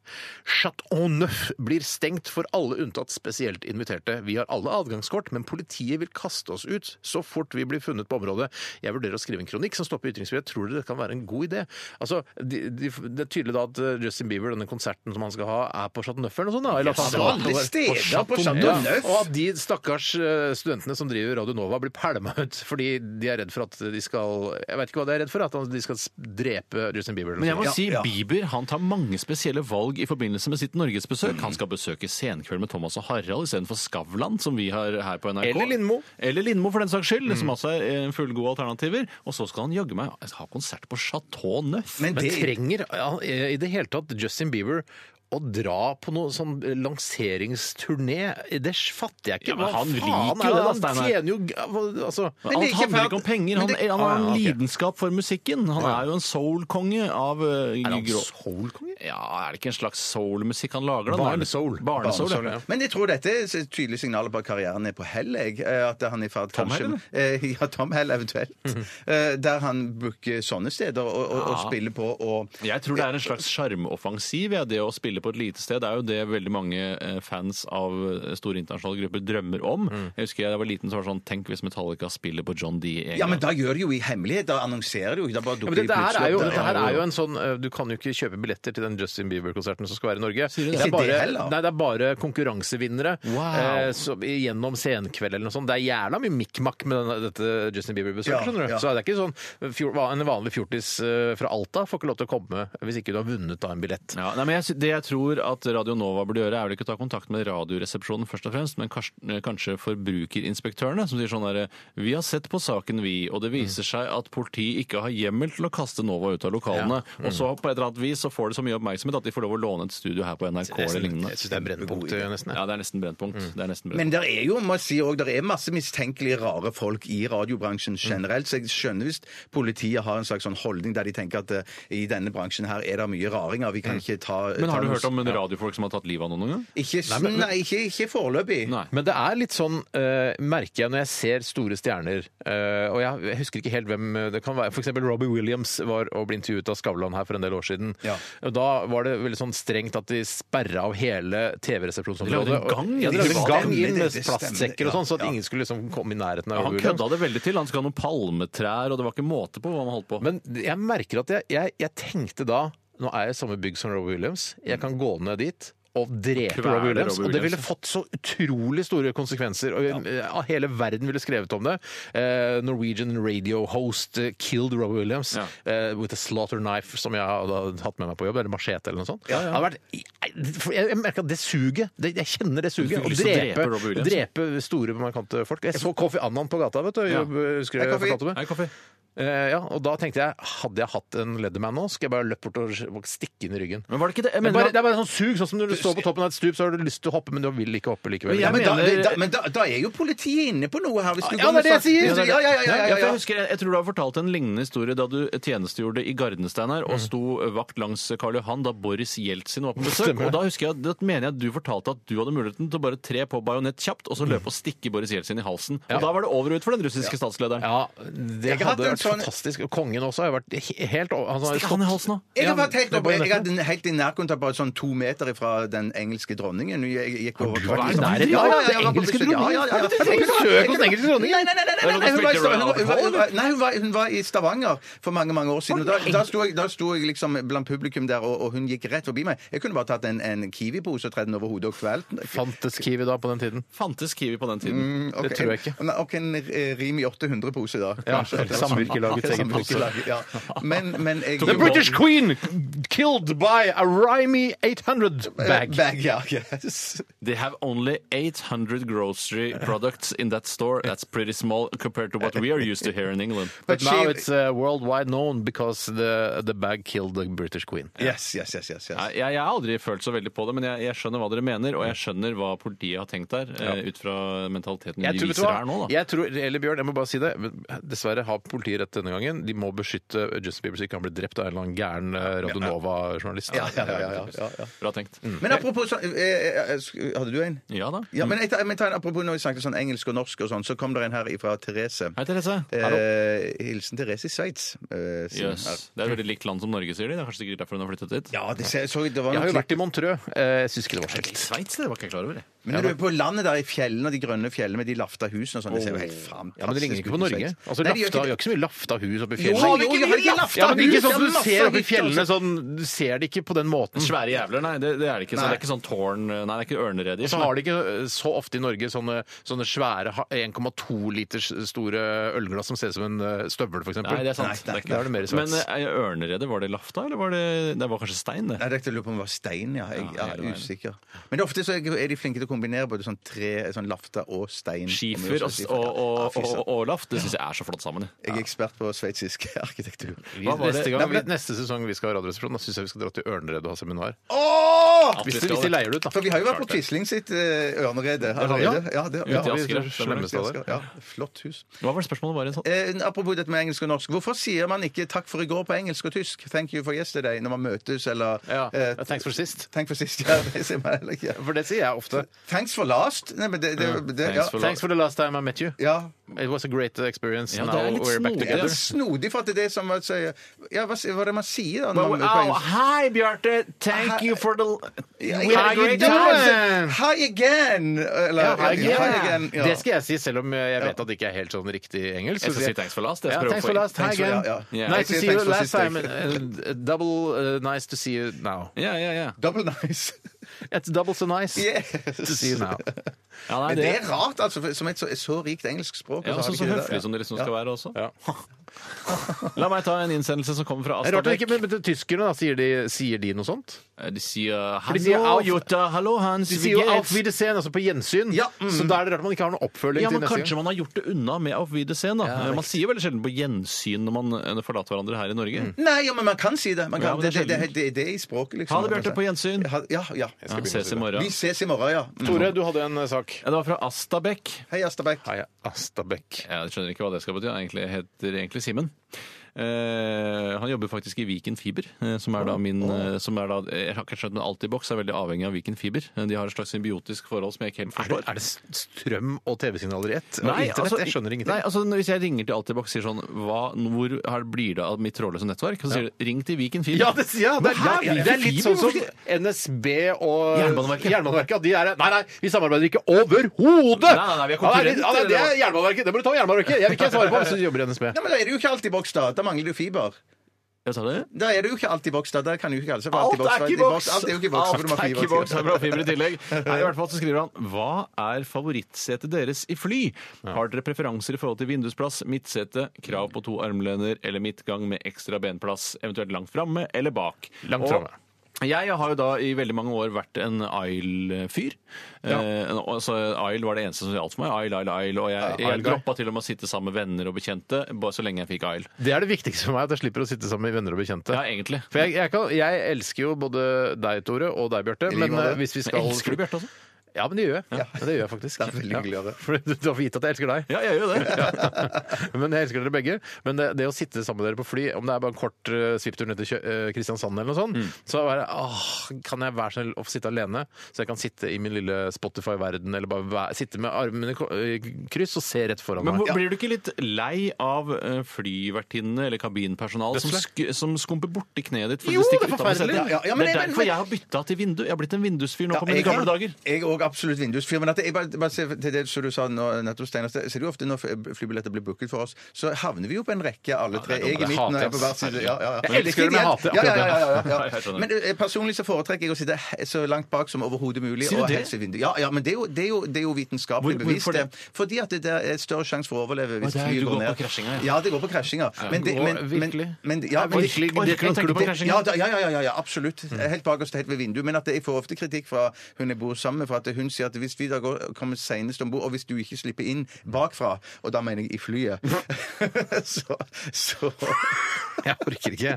Chateau Neuf blir stengt for alle unntatt spesielt inviterte. Vi har alle adgangskort, men politiet vil kaste oss ut så fort vi blir funnet på området. Jeg vurderer å skrive en kronikk som stopper ytringsfrihet. Tror dere det kan være en god idé? Altså, de, de, det er tydelig da at eh, Justin Bieber, denne konserten som han skal ha, er på Chateau Neuf eller noe sånt? da? Eller at han Yes, skal alle på- steder på Chateau Ja, Neuf. Og at de stakkars eh, studentene som driver Radio Nova, blir pælma ut fordi de er redd for at de skal Jeg vet ikke hva de er redd for, at de skal s- drepe Justin Bieber. Men jeg må noe sånt. si Bieber han tar mange spesielle valg i forbindelse med sitt norgesbesøk. Han skal besøke Senkveld med Thomas og Harald istedenfor Skavlan, som vi har her på NRK. Eller Lindmo. Eller Lindmo, for den saks skyld, som altså er eh, fullgode alternativer. Og så skal han jaggu meg ha konsert på Chateau Neuf. Men Men det trenger ja, eh, i det hele tatt Justin Bieber å dra på noe sånn lanseringsturné? Det fatter jeg ikke. Ja, men Hva han faen liker jo er det, da, Han Steinar. tjener jo g- hva- altså, Alt like handler før- ikke om penger. men Han, det- han har en Ah, ja, ok. lidenskap for musikken. Han er jo en soul-konge av eh, Er han grå- soulkonge? Ja, er det ikke en slags soul-musikk han lager? da? Barnesoul. Barnesoul, Barnesoul, ja. ja. Men jeg tror dette er et tydelig signal på at karrieren er på hell. Jeg. Eh, At han er i ferd Tom Hell, Hell? Ja, Tom Hell eventuelt. Eh, Der han booker sånne steder og, og, og spiller på og Jeg tror det er en slags sjarmoffensiv, ja, det å spille på et lite sted. Det er jo det veldig mange eh, fans av eh, store internasjonale grupper drømmer om. Jeg husker jeg da var liten, så var det sånn Tenk hvis Metallica spiller på John D. en Ja, men gang. da gjør de jo i hemmelighet. Da annonserer de jo. ikke, Da bare Ja, dukker men dette de her plutselig er jo, opp der. dette her er jo en sånn eh, Du kan jo ikke kjøpe billetter til den Justin Bieber-konserten som skal være i Norge. Sier du det? er Ikke det bare, heller? nei, det er bare konkurransevinnere Wow. eh, som- gjennom senkveld eller noe sånt. Det er jævla mye mikk-makk med denne, dette Justin Bieber-besøket, Ja, skjønner du. ja. Så det er ikke sånn fjor, va- En vanlig fjortis eh, fra Alta får ikke lov til å komme hvis ikke du har vunnet da en billett. Ja, nei, men jeg, sy- det jeg tror at Radio Nova burde gjøre, er vel ikke å ta kontakt med Radioresepsjonen først og fremst, men kanskje, kanskje forbrukerinspektørene, som sier sånn derre Vi har sett på saken, vi, og det viser seg at politiet ikke har hjemmel til å kaste Nova ut av lokalene. Og så på et eller annet vis så får det så mye oppmerksomhet at de får lov å låne et studio her på NRK Jeg eller syns- jeg lignende. Mm. syns det er brennpunktet, nesten. Ja, det er nesten Brennpunkt. Det er nesten Men brennpunkt. det er jo må jeg si også, det er masse mistenkelige, rare folk i radiobransjen generelt. Så jeg skjønner hvis politiet har en slags sånn holdning der de tenker at eh, i denne bransjen her er det mye raringer. Vi kan ikke ta Men har ta du noe- hørt om radiofolk som har tatt livet av noen noen gang? Ikke, s- Nei, men- nei, ikke, ikke foreløpig. Nei. Men det er litt sånn, eh, merker jeg når jeg ser store stjerner eh, Og jeg, jeg husker ikke helt hvem eh, det kan være. F.eks. Robbie Williams var og ble intervjuet av Skavlan her for en del år siden. Ja. Og Da var det veldig sånn strengt at de sperra av hele TV-resepsjonsområdet. De lagde en Og- gang, ja, de de lagde en var- gang inn Stemmer det, med det plastsekker og stemmer, sånn, så at ja, ja. ingen skulle liksom komme i nærheten av Han Robbie Williams. kødda det veldig til. Han skal ha noen palmetrær, og det var ikke måte på hva han holdt på med. Men jeg merker at jeg, jeg, jeg tenkte da Nå er jeg i samme bygg som Robbie Williams. Jeg kan gå ned dit og drepe Kvele Robbie Williams. Robbie Og det ville Williams. fått så utrolig store konsekvenser. Og eh, Hele verden ville skrevet om det. Eh, Norwegian radio host eh, killed Robbie Williams Ja. eh, with a slaughter knife, som jeg hadde hatt med meg på jobb, eller machete eller noe sånt. Det hadde vært, jeg, jeg merker at det suget. Det, jeg kjenner det Du suget. fikk Å lyst til å drepe drepe, Robbie drepe, Williams. store, markante folk. Jeg så Kofi Annan på gata, vet du. Ja. Husker du Hei, jeg Kofi. fortalte om det? Nei, kaffe. Eh, ja, og da tenkte jeg, hadde jeg hatt en Leatherman nå, skal jeg bare løpe bort og stikke inn i ryggen. Men var det ikke det? Jeg det, er bare, mener, det er bare sånn sug, sånn som når du står på toppen av et stup, så har du lyst til å hoppe, men du vil ikke hoppe likevel. Men Ja, jeg men da, mener- da, men da, da er jo politiet inne på noe her. Hvis du går Ja, det er med det jeg sånn- sier. Hvis du- Ja, ja, ja, ja, Nei, ja, for ja. Jeg, husker, jeg, jeg tror du har fortalt en lignende historie da du tjenestegjorde i Gardenstein her Mm. og sto vakt langs Karl Johan da Boris Jeltsin var på besøk. Stemmer. Og da husker jeg, da mener jeg at du fortalte at du hadde muligheten til å bare tre på bajonett kjapt og så løpe og stikke Boris Jeltsin i halsen. Og Mm. Ja. da var det over og ut for den russiske statslederen. Ja, det Jeg har hatt hadde en vært sånn- fantastisk. Og kongen også har jo vært he- helt over- han har Stikk han i stått- halsen nå. Jeg har vært helt Ja, oppe, jeg med hadde en helt i nærkontakt, bare sånn to meter fra den engelske dronningen. Jeg gikk over var taket, i sånn. nærheten? Ja, ja, ja, Den jeg var på engelske besøk. Ja, ja, ja, ja. dronningen? Er det besøk hos den engelske dronningen? Nei, nei, nei, nei, nei, Er det noen nei, hun som var i spilte Stavanger- hun var- hun var- Royal nei, hun var- hun var i Stavanger for mange mange år siden. Og da, da, sto jeg, da sto jeg liksom blant publikum der, og, og hun gikk rett forbi meg. Jeg kunne bare tatt en, en Kiwi-pose og tredd den over hodet og kvelt den. Fantes Kiwi da på den tiden? Fantes Kiwi på den tiden. Ok, tror jeg ikke. Nei, ok, en eh, Rimi 800-pose, da. Ja, kanskje. eller samvirkelagets egen pose. Samvirkelaget, Ja. Men, men jeg The British Queen killed by a Rhymey 800 bag. Bag, ja. Yes. They have only 800 grocery products in that store. That's pretty small compared to what we are used to here in England. But But now she- it's uh, worldwide known because the, the bag killed the British Queen. Yes, yes, yes, yes, yes. Nei, Jeg, jeg har aldri følt så veldig på det, men jeg, jeg skjønner hva dere mener, og jeg skjønner hva politiet har tenkt der, eh, ut fra mentaliteten Jeg de tror, vet du viser hva? her nå. da. jeg tror, eller Bjørn, jeg må bare si det. men Dessverre har politiet rett denne gangen. De må beskytte Justin Bieber så ikke han blir drept av en eller annen gæren eh, Radionova-journalist. Ja, ja, ja, ja, ja, ja. Bra tenkt. Men apropos sånn eh, eh, eh, sk- Hadde du en? Ja da. Ja, men jeg tar, men jeg tar en, apropos når vi snakket sånn engelsk og norsk og sånn, så kom det en her fra Therese. Hei, Therese. Hallo. Eh, hilsen Therese i Sveits. Eh, sin Jøss. her. Det er et veldig likt land som Norge, sier de. Det er kanskje sikkert derfor hun har flyttet dit. Ja, det, ser- så, det var Jeg har noe jo vært klipp. i Montreux. Eh, Jeg syns ikke det var så I ille. Sveits, det var ikke jeg klar over. jeg. Men når du er på landet der i fjellene, de grønne fjellene med de lafta husene og sånn, det ser jo helt fantastisk ut. Ja, men det ligner ikke på i Norge. Sveits. Altså, Nei, det gjør lafta, ikke Vi det. Jo, har har ikke så mye lafta hus oppi fjellene. vi ikke- vi har ikke lafta ja, men ikke hus, det sånn er som du masse ser oppi hytter, fjellene. altså. Sånn, du ser det ikke på den måten. Svære jævler, nei. Det, det er det ikke. Så Nei. det er ikke sånn tårn Nei, det er ikke ørneredjer. Så har de ikke eh, så ofte i Norge sånne, sånne svære ha- 1,2 liters store ølglass som ser ut som en eh, støvel, f.eks. Nei, det er sant. Nei, nei, ikke det er det mer i Sveits. Men eh, ørneredet, var det lafta, eller var det Det var kanskje stein, det? Nei, dette lurer på om det var stein, ja. Jeg, Ja, ja, hele veien. usikker. Men det er ofte så er de flinke til å kombinere både sånn tre, sånn lafta og stein. Skifer og, Skifer, ja. og, Ja, og, fy og, søren. og laft, det syns jeg er så flott sammen. jeg. Jeg er ekspert på sveitsisk [laughs] arkitektur. Vi, Hva var det? neste, gang, Nei, men- neste sesong vi skal ha Radioresepsjonen, da syns jeg vi skal dra til Ørneredet og ha seminar. Åh! At vi Hvis de, skal hvis de det. leier det ut, da. For vi har jo vært på Quisling sitt eh, ørnerede allerede. Ja, det, Ute i ja, vi- Asker, slemmeste av det. Ja, flott hus. Hva var det spørsmålet var igjen? sånn? Eh, apropos dette med engelsk og norsk. Hvorfor sier man ikke 'takk for i går' på engelsk og tysk? 'Thank you for yesterday' når man møtes, eller Ja, eh, Thanks for sist. [laughs] Thank for sist. Ja, det sier man heller ikke. For det sier jeg ofte. Thanks for last. Nei, men det, det, det, ja. Mm. thanks for [laughs] Thanks for the last time I met you. ja. It was a great experience. Ja, det er Now litt we're back snodig, Det together. er snodig for at det er som å si Ja, hva, hva er det man sier da? når Well, man- på oh, engelsk? hi, Bjarte. Thank you for the Ja, We had a hi great again. time. Hi again! Eller, Ja, hi again. Hi again, ja. Det skal jeg si, selv om jeg vet at det ikke er helt sånn riktig engelsk. Jeg skal så sier si thanks for last, jeg Ja, prøver å thanks få for inn. last. Hi Thanks for- again. ja, ja. Nice to Jeg sier see you thanks for last sist, jeg. time. and, uh, Double uh, nice to see you now. Ja, ja, ja. Double nice. It's double so nice Yes. to see you now. ja nei, Men det er rart, altså, for- som et så, så rikt engelsk språk. Ja, og så har sånn de så ikke det høflig der. som dere liksom Ja. skal være også. [laughs] La meg ta en innsendelse som kommer fra Det er rart at ikke, Astabekk. men, men tyskerne, da, sier de, sier de noe sånt? De sier de sier 'hallo, auf- Jutta', 'hallo, Hans'. De vi sier jo geht's». 'auf Wiedersehen', altså på gjensyn. Ja, mm. Så da er det rart at man ikke har noen oppfølging Ja, til men neste Kanskje man har gjort det unna med Auf Wiedersehen. Da. Ja, man riktig. sier veldig sjelden på gjensyn når man eh, forlater hverandre her i Norge. Nei, ja, men man kan si det. Man kan, Ja, men det, det er det, det, det, det er i språket, liksom. Ha det, Bjarte, på gjensyn. Ja, ja. ja. Ja, Mm. ses i Vi morgen. ses i morgen, ja. gang. Tore, du hadde en eh, sak. Ja, det var fra Astabekk. Hei, Astabekk. Hei, Astabekk. Jeg skjønner ikke hva det skal bety. Han egentlig heter egentlig Simen. Eh, han jobber faktisk i Viken Fiber, eh, som er da min eh, som er da, Jeg har ikke skjønt, men Altibox er veldig avhengig av Viken Fiber. Eh, De har et slags symbiotisk forhold som jeg ikke helt Er det, forstår. er det strøm og TV-signaler i ett? Og internett? jeg skjønner ingenting. Nei, altså når- Hvis jeg ringer til Altibox og sier sånn hva, Hvor her blir det av mitt trådløse nettverk? Så sier de ring til Viken Fiber. Ja, det, ja, det, Men her er- det, er- blir det er litt fiber, sånn som hvorfor- NSB og Jernbaneverket. Jernbaneverket, at de er Nei, nei, vi samarbeider ikke overhodet! Nei, nei, nei, vi er Ja, det litt- konkurrenter, Ja, nei, det er Jernbaneverket. Det må du ta med Jernbaneverket. Jeg vil ikke svare på hvis du jobber i NSB. Ja, men da er det jo ikke alt i boks, da. Da mangler du fiber. Jeg sa det. Da er det jo ikke alt i boks, da. Der kan du jo ikke kalle seg for Alt alt i boks. er for ikke i boks! Alt er jo ikke i boks, for du må ha Alt er fiber ikke i til. boks, det er bra fiber i [laughs] tillegg. Nei, I hvert fall så skriver han Hva er favorittsetet deres i fly? Har dere preferanser i forhold til vindusplass, midtsete, krav på to armlener eller midtgang med ekstra benplass, eventuelt langt framme eller bak? Langt Og framme. Jeg har jo da i veldig mange år vært en Isle-fyr. Eh, og så Isle var det eneste som gjaldt for meg. Isle, Isle, Isle. Og jeg, Isle jeg guy. droppa til og med å sitte sammen med venner og bekjente bare så lenge jeg fikk Isle. Det er det viktigste for meg, at jeg slipper å sitte sammen med venner og bekjente. Ja, egentlig. For jeg, jeg, kan, jeg elsker jo både deg, Tore, og deg, Bjarte. Men måte. eh, hvis vi skal Elsker du Bjarte også? Ja, men det gjør jeg. Ja, det gjør jeg [laughs] faktisk. Det er veldig hyggelig å høre. For du, du har fått vite at jeg elsker deg. [laughs] Ja, jeg gjør jo [laughs] det. Men jeg elsker dere begge. Men det, det å sitte sammen med dere på fly, om det er bare en kort eh, svipptur ned til Kjø- eh, Kristiansand eller noe sånt, Mm. så er det, åh, kan jeg være snill å få sitte alene, så jeg kan sitte i min lille Spotify-verden, eller bare væ- sitte med armene i ko- i kryss og se rett foran Men meg. hvor- blir du ikke litt lei av eh, flyvertinnene eller kabinpersonalet som, sk som skumper borti kneet ditt? fordi Jo, stikker det er ut av setet? forferdelig. Ja, ja, men det er jeg- derfor men- jeg har bytta til vindu. Jeg har blitt en vindusfyr nå på mine jeg- gamle dager. Jeg er også absolutt vindusfyr. Men at jeg bare, bare ser til det som du sa nå, nettopp, Steinar. så Ser du ofte når flybilletter blir booket for oss, så havner vi jo på en rekke, alle tre. det er Jeg i dumt. midten, og jeg på hver Hater, side. Ja, ja, ja. Jeg elsker det, men jeg hater Ja, ja, akkurat ja, ja, ja, det. Jeg ja. skjønner. Men eh, personlig så foretrekker jeg å sitte he- så langt bak som overhodet mulig. Sier du og det? helst i vinduet. Ja, ja, men det er jo, det er jo, det er jo vitenskapelig Hvor- bevist, hvorfor det. det? Fordi at det der er større sjanse for å overleve hvis det er- flyet du går går ned. på krasjinga, ja. Ja, det går på krasjinga. Men det- Går- men- men- virkelig? men- ja, men- Virkelig, Oi, det tenker du på krasjinga? Ja, da- ja, ja, ja, ja, ja, absolutt. Helt bakerst, helt ved vinduet. Men at jeg får ofte kritikk fra hun jeg bor sammen med, for at hun sier at hvis vi da går, kommer senest om bord, og hvis du ikke slipper inn bakfra, og da mener jeg i flyet, [laughs] så, så [laughs] Jeg orker ikke.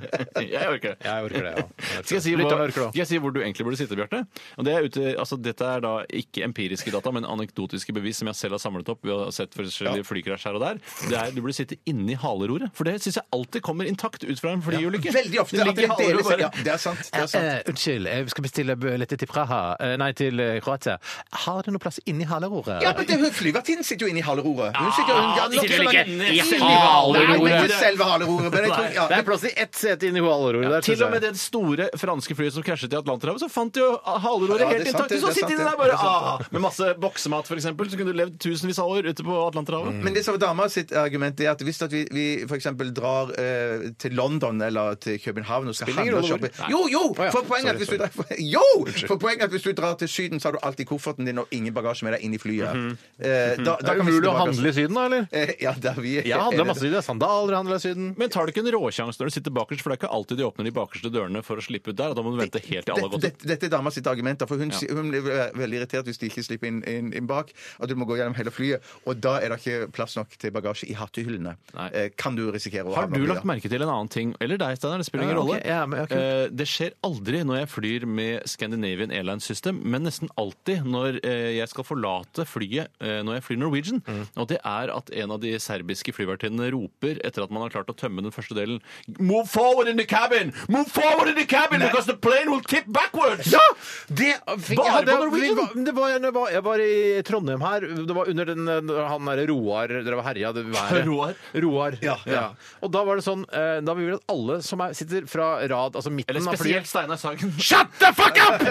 Jeg orker det. Jeg orker det, [laughs] ja. Jeg orker Skal jeg, si det. Litt hvor, orker det skal jeg si hvor du egentlig burde sitte, Bjarte? Og det er ute, altså, dette er da ikke empiriske data, men anekdotiske bevis som jeg selv har samlet opp ved å ha sett forskjellige flykrasj her og der. Det er Du burde sitte inni haleroret. For det syns jeg alltid kommer intakt ut fra en flyulykke. Veldig ofte Det at ligger det i haleroret deles bare. Ja, det er sant. Det er sant. Eh, unnskyld, jeg skal bestille billetter til Praha. Eh, nei, til eh, Kroatia. Har du noe plass inni haleroret? Ja, men det, hun Flyvertinnen sitter jo inne i haleroret. Hun sitter jo Ah, de sitter vel ikke inne i Nei, men haleroret. ikke selve haleroret. Men jeg tror, ja. Det er plass til ett sete inni haleroret. der, synes Til og jeg. med det store franske flyet som krasjet i Atlanterhavet, så fant de jo haleroret Ja, det er helt sant, intakt! det, Så det er sitter de sant, der det, bare det er sant, ah, med masse boksemat, f.eks., så kunne du levd tusenvis av år ute på Atlanterhavet. Men det som var dama sitt argument er at hvis at vi, vi f.eks. drar eh, til London eller til København og skal Spiller ingen handle og shoppe rolle hvor. Jo, jo! Å ja, For poenget er at hvis sorry, du sorry. drar, jo! For poenget er at hvis du drar til Syden, så har du alltid kofferten din og ingen bagasje med deg inn i flyet. Eh, da, da Det Mhm. er kan vi umulig sitte å bak oss. handle i Syden, da, eller? Eh, ja, der vi Jeg handler masse i Syden. Sandaler handler jeg i Syden. Men tar du ikke en råsjanse når du sitter bakerst, for det er ikke alltid de åpner de bakerste dørene for å slippe ut der. og Da må du vente helt til alle har Dette, gått ut. dette, dette er dama sitt argument. da, for Hun, si- hun blir ve- veldig irritert hvis de ikke slipper inn, inn, inn bak. At du må gå gjennom hele flyet. Og da er det ikke plass nok til bagasje i hattehyllene. Nei. Eh, kan du risikere å Har havne du oppi, lagt da? merke til en annen ting? Eller deg, Steinar. Det spiller Ja, ingen rolle. ok. Ja, men- ja, kult. Eh, Det skjer aldri når jeg flyr med Scandinavian Airlines System, men nesten alltid når eh, jeg skal forlate flyet eh, når jeg flyr Norwegian. Mm. Og det er at en av de serbiske flyvertinnene roper etter at man har klart å tømme den første delen Move forward in the cabin! Move forward in the cabin because the plane will tip backwards! Ja! Det, fikk, Bare ja, det, på Norwegian? vi var- det var, jeg, var, jeg var i Trondheim her. Det var under den, eh, han derre Roar Dere var herja, det været. [laughs] Roar? Roar. Ja, ja. Og da var det sånn eh, Da vil vi at alle som er, sitter fra rad, altså midten Eller av flyet spesielt Steinar Sagen. Shut the fuck up!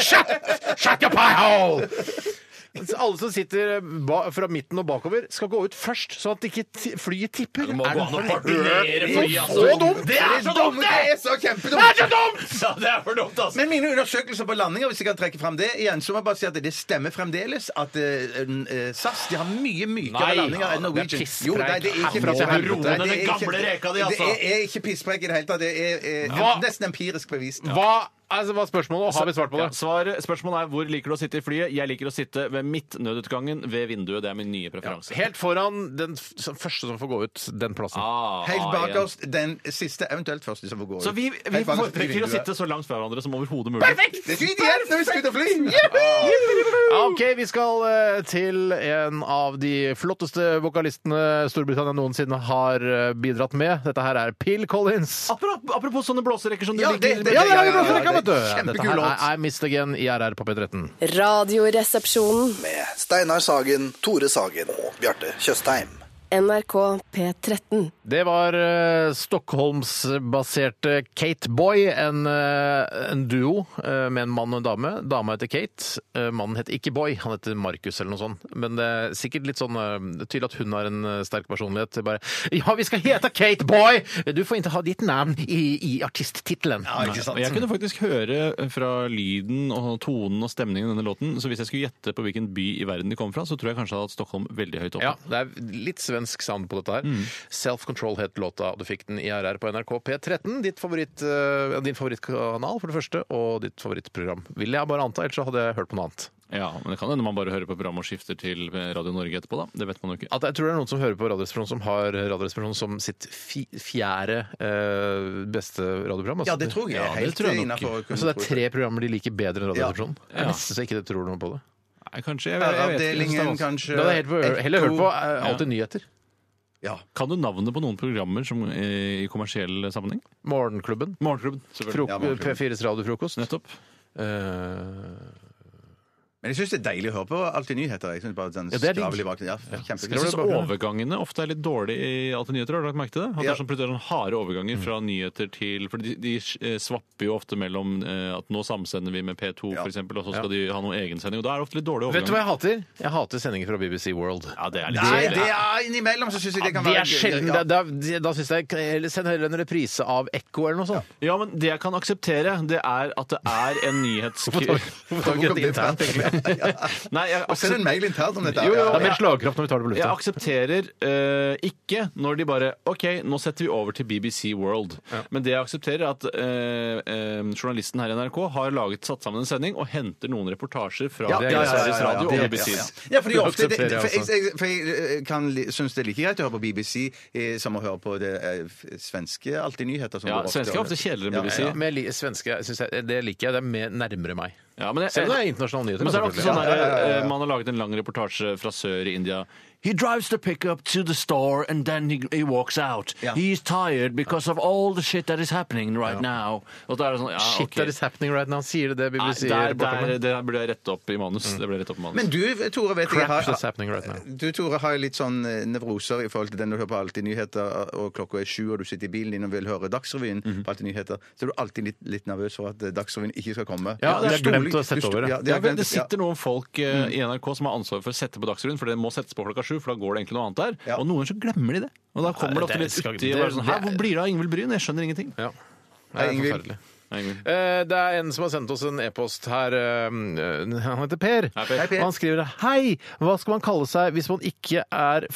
Shut, shut your pie hole! [laughs] Så Alle som sitter ba, fra midten og bakover, skal gå ut først, sånn at ikke ti- flyet tipper. Det må gå an å partnere flyet, så dumt! Det er så dumt, Det det! er så Det kjempedumt! er så dumt! Ja, det er for dumt, altså. Men mine undersøkelser på landinger, hvis jeg kan trekke frem det igjen, så må jeg bare si at det stemmer fremdeles at eh, en, eh, SAS de har mye mykere Nei, landinger enn det er Norwegian. pisspreik. Jo, nei, det er ikke Herre, pisspreik. roe Nei, det ned er den ikke- gamle reka di, altså. Det er, er ikke pisspreik i det hele tatt. Det er, eh, Hva? nesten empirisk bevist. Hva altså, var spørsmålet, og har vi svart på Ja, det? svaret, spørsmålet er hvor liker du å sitte i flyet? Jeg liker å sitte ved midtnødutgangen ved vinduet. Det er min nye preferanse. Helt foran den f- som første som får gå ut den plassen. Ah, Helt ah, bak igjen. oss den siste, eventuelt første som får gå ut. Så vi, vi Helt bak oss i foretrekker å vinduet. sitte så langt fra hverandre som overhodet mulig. Det er ideelt når vi skal ut og fly! Juhu! Ja, OK, vi skal eh, til en av de flotteste vokalistene Storbritannia noensinne har eh, bidratt med. Dette her er Phil Collins. Apropos, apropos sånne blåserekker sånn- som du Ja, liker. det- det- Ja, det er jo bra for ja, rekka, vet du! det er kjempekul Dette her låt. er I Missed Again i RR på P13. Radioresepsjonen. Med Steinar Sagen, Tore Sagen og Bjarte Tjøstheim. NRK P13. Det var eh, Stockholmsbaserte Kate Boy, en, eh, en duo eh, med en mann og en dame. Dama heter Kate, eh, mannen heter ikke Boy, han heter Markus eller noe sånt. Men det er sikkert litt sånn eh, det er tydelig at hun har en eh, sterk personlighet. Bare Ja, vi skal hete Kate Boy! Du får ikke ha ditt navn i, i artisttittelen. Ja, ikke Og Jeg sant? kunne faktisk høre fra lyden og tonen og stemningen i denne låten, så hvis jeg skulle gjette på hvilken by i verden de kom fra, så tror jeg kanskje jeg hadde hatt Stockholm veldig høyt oppe. Ja, det er litt svensk sound på dette her. Self Control het låta, og du fikk den i RR på NRK P13. Ditt favoritt, eh, din favorittkanal, for det første, og ditt favorittprogram. Vil jeg bare anta, ellers så hadde jeg hørt på noe annet. Ja, men det kan hende man bare hører på programmet og skifter til Radio Norge etterpå, da. Det vet man jo ikke. At jeg tror det er noen som hører på Radioresepsjonen som har Radioresepsjonen som sitt fi fjerde eh, beste radioprogram. altså. Ja, det tror jeg. Ja, er det Helt tror jeg nok. innafor. Så det er tre programmer de liker bedre enn Radioresepsjonen? Jeg Ja. er nesten så ikke det tror noe på det. Nei, kanskje. Jeg, jeg, jeg, vet ikke. Avdelingen, kanskje Da hadde jeg heller, heller hørt på eh, Alltid nyheter. Ja. Kan du navnet på noen programmer som, eh, i kommersiell sammenheng? Morgenklubben. Morgenklubben, selvfølgelig. Frok Ja, Morgenklubben. P4s radiofrokost. Nettopp. Eh, Men jeg syns det er deilig å høre på Alltid nyheter. Jeg synes bare den Ja, det er digg. skravl i bakgrunnen- Ja, Jeg kjempekult. syns overgangene ofte er litt dårlige i Alltid nyheter. Har du lagt merke til det? At det Ja. er sånn, plutselig er sånn harde overganger fra nyheter til For de, de eh, svapper jo ofte mellom eh, at nå samsender vi med P2 Ja. for eksempel, og så skal de ha noe egensending. Og da er det ofte litt dårlige Vet du hva overganger. jeg hater? Jeg hater sendinger fra BBC World. Ja, det er litt Nei, kjedelig. det er innimellom så syns jeg det kan det være er sjelden. Ja. Da, da, da syns jeg eller Send heller en reprise av Ekko eller noe sånt. Ja, men det jeg kan akseptere, det er at det er en nyhets... [laughs] Hvorfor tar vi ikke Hvor kom dette det fra? internt? Nei, jeg Og send en aksep- mail internt om dette. her. Jo, jo, Ja, det ja. er mer slagkraft når vi tar det på jeg lufta. aksepterer eh, ikke når de bare OK, nå setter vi over til BBC World. Men det jeg aksepterer, er at eh, eh, journalisten her i NRK har laget, satt sammen en sending og henter noen reportasjer fra det er Sveriges greit. Sveriges ja, Radio og ja, BBC. ja, ja. Ja, fordi Det altså. ofte det, aksepterer jeg for jeg, jeg, for jeg eh, kan li- synes det er like greit å høre på BBC eh, som å høre på det eh, f- svenske Alltid nyheter. Som Ja, går ofte. svenske er ofte kjedeligere enn BBC. Ja, men jeg li- svenske synes jeg, det liker jeg. Det er mer nærmere meg. Ja, men jeg- Selv om det er internasjonale nyheter. Men så er det ofte selvfølgelig. sånn der, eh, Man har laget en lang reportasje fra sør i India. He drives the pickup to the store and then he, he walks out. Ja. He's tired because of all the shit that is happening right now. Og da er det sånn, ja, Shit, ok. that is happening right now. Sier Mm. det det Nei, der, BBC-reporterne? der, det burde jeg rette opp i manus. Det ble rett opp i manus. Men du, Tore, vet jeg Crap har, that's happening right now. du, Tore, har jo litt sånn eh, nevroser i forhold til den du hører på Alltid nyheter, eh, og klokka er sju, og du sitter i bilen din og vil høre Dagsrevyen på Mhm. Alltid nyheter, så er du alltid litt, litt nervøs for at eh, Dagsrevyen ikke skal komme. Ja, Du det er stoler- glemt å sette du sto- over det. Ja, Det, det, er glemt, det ja. Mm. sitter noen folk eh, i NRK som har ansvaret for å sette på Dagsrevyen, for det må settes på klokka sju, for da går det egentlig noe annet der. Ja. Og noen ganger så glemmer de det. Og da kommer det det ofte litt skal- uti det- og bare sånn det Hæ, er- hvor blir det av Ingvild Bryn? Jeg skjønner ingenting. Ja. Det Hei, er Ingvild. forferdelig. Nei, Ingvild. Eh, Det er en som har sendt oss en e-post her. eh, [laughs] Han heter Per. Hei, Per. Hei, Per. Han skriver Hei! Hva skal man kalle seg hvis man ikke er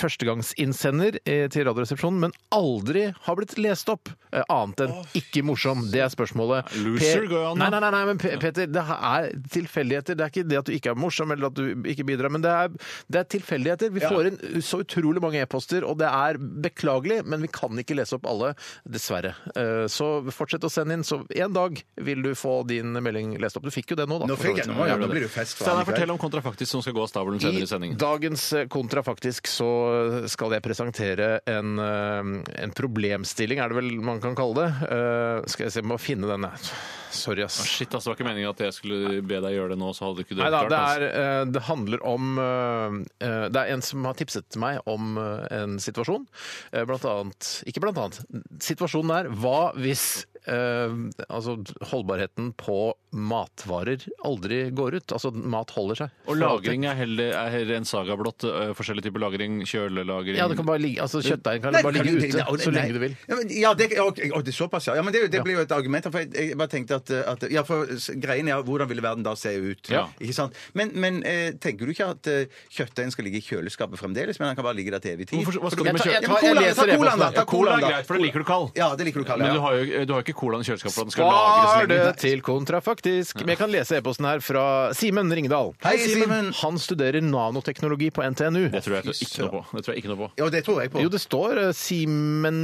førstegangsinnsender eh, til Radioresepsjonen, men aldri har blitt lest opp? Eh, Annet enn ikke morsom. Det er spørsmålet. Loser Per- går jo an, da. Nei, nei, nei, nei men Pe- Peter, det er tilfeldigheter. Det er ikke det at du ikke er morsom eller at du ikke bidrar, men det er, det er tilfeldigheter. Vi får inn så utrolig mange e-poster, og det er beklagelig, men vi kan ikke lese opp alle, dessverre. Eh, Så fortsett å sende inn. Så en dag vil du få din melding lest opp. Du fikk jo det nå, da. Nå for så fikk jeg vidt. den, nå, ja, nå blir det jo fest. for Steinar, han i kveld. fortell om kontrafaktisk som skal gå av stabelen senere i I sendingen. dagens eh, kontra faktisk så skal jeg presentere en, eh, en problemstilling, er det vel man kan kalle det. Eh, skal jeg se, jeg må finne denne. Sorry, ass. Shit, ass, det var ikke meningen at jeg skulle be deg gjøre det nå, så hadde ikke du Nei da, klart det, ass. er, eh, det handler om eh, eh, Det er en som har tipset meg om eh, en situasjon. Eh, Blant annet Ikke blant annet. Situasjonen er hva hvis eh, altså holdbarheten på matvarer aldri går ut? Altså mat holder seg. Og lagring er heller, er heller en saga blått. øh, Forskjellig type lagring, kjølelagring Ja, det kan bare ligge, altså Kjøttdeigen kan Nei, bare kan ligge du- ute nei, så nei. lenge du vil. Ja, men, ja det, ok, ok, det er såpass, ja. ja men det, det blir jo et argument. her, For jeg, jeg bare tenkte at, at ja, for s- Greien er hvordan ville verden da se ut? Ja. Ikke sant? Men, men eh, tenker du ikke at eh, kjøttdeigen skal ligge i kjøleskapet fremdeles? Men han kan bare ligge der til evig tid? Hvorfor- hva skal Fordi- du med kjøtt? Ja, men Jeg tar- jeg colaen, leser ta colaen, da! e-posten. Ta ja, Cola colaen, er da. greit, for da liker du kald. Ja, det liker du kald. Men Ja. du har jo du har ikke colaen i kjøleskapet for at den skal Spar lagres det lenge. til kontrafaktisk. Men jeg kan lese e-posten her fra Simen Ringdal. Hei, Simen. Han studerer nanoteknologi på NTNU. Det tror jeg ikke noe på. Det tror jeg ikke noe på. Ja, det tror jeg på. Jo, det står eh,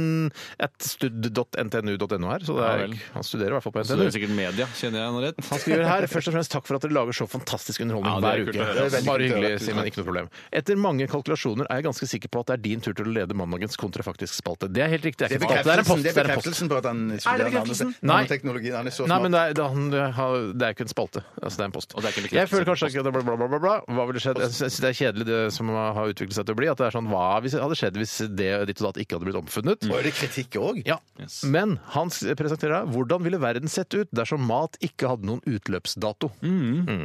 simen.stud.ntnu.no her, så det Ja er, vel. han studerer i hvert fall på Så det er NTNU. sikkert media, kjenner jeg nå rett. Han skriver her først og fremst takk for at dere lager så fantastisk underholdning Ja, det er hver kult uke. å høre, ass. Det er veldig Bare kult å hyggelig, høre. Simen. Ikke noe problem. Etter mange kalkulasjoner er jeg ganske sikker på at det er din tur til å lede mandagens kontrafaktisk spalte. Det er helt riktig. Det er Det er ikke en spalte, det er en bekreftelsen, post. det er bekreftelsen Det er en post. på at han studerer bekreftelsen? nanotek- Nei. nanoteknologien. Han er så Nei, smart. men det er, det, er han, har- det er ikke en spalte. Altså, det er en post. Og det er ikke en bekreftelse. jeg føler kanskje ikke at det bla, bla, bla, bla, bla. Hva ville skjedd? Jeg synes det er kjedelig det som har utviklet seg til å bli. At det er sånn, hva hvis- hadde skjedd hvis det ditt og datt ikke hadde blitt omfunnet? Mm. Og er det kritikk òg? Ja, Men han s- presenterer her, hvordan ville verden sett ut dersom mat ikke hadde noen utløpsdato?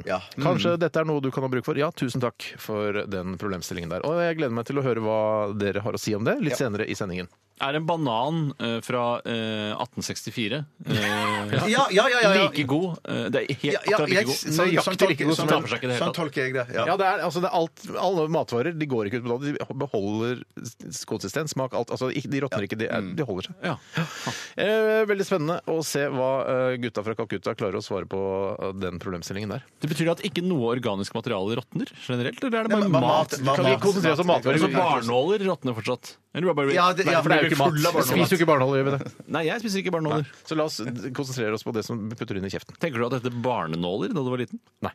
Ja. Kanskje dette er noe du kan ha bruk for? Ja, tusen takk for den problemstillingen der. Og jeg gleder meg til å høre hva dere har å si om det litt senere i sendingen. Er en banan eh, fra eh, 1864 eh, Ja, ja, ja, ja, ja. like god? Eh, det er helt Ja, ja, akkurat jeg- like god. sånn- Nøyaktig sånn tolker- like god som sånn- tar for seg ikke det hele Sånn tatt. tolker jeg det. ja. Ja, det er, altså, det er alt, Alle matvarer de går ikke ut på dato. De beholder s- konsistens, smak, alt. Altså, ikke- de råtner ikke, de, er, de holder seg. Ja. Eh, veldig spennende å se hva eh, gutta fra Calcutta klarer å svare på eh, den problemstillingen der. Det betyr at ikke noe organisk materiale råtner generelt? Eller er det Nei, bare men- mat? mat- Kan vi konsentrere oss om matvarer? Altså barnåler råtner fortsatt? Eller bare, Ja, det- ja, Nei, for det er jo blir ikke mat. full av Vi barnåler. Spiser jo ikke barnåler, gjør vi det? Nei, jeg spiser ikke barnåler. Så la oss d- konsentrere oss på det som vi putter inn i kjeften. Tenker du at dette er barnenåler da du var liten? Nei.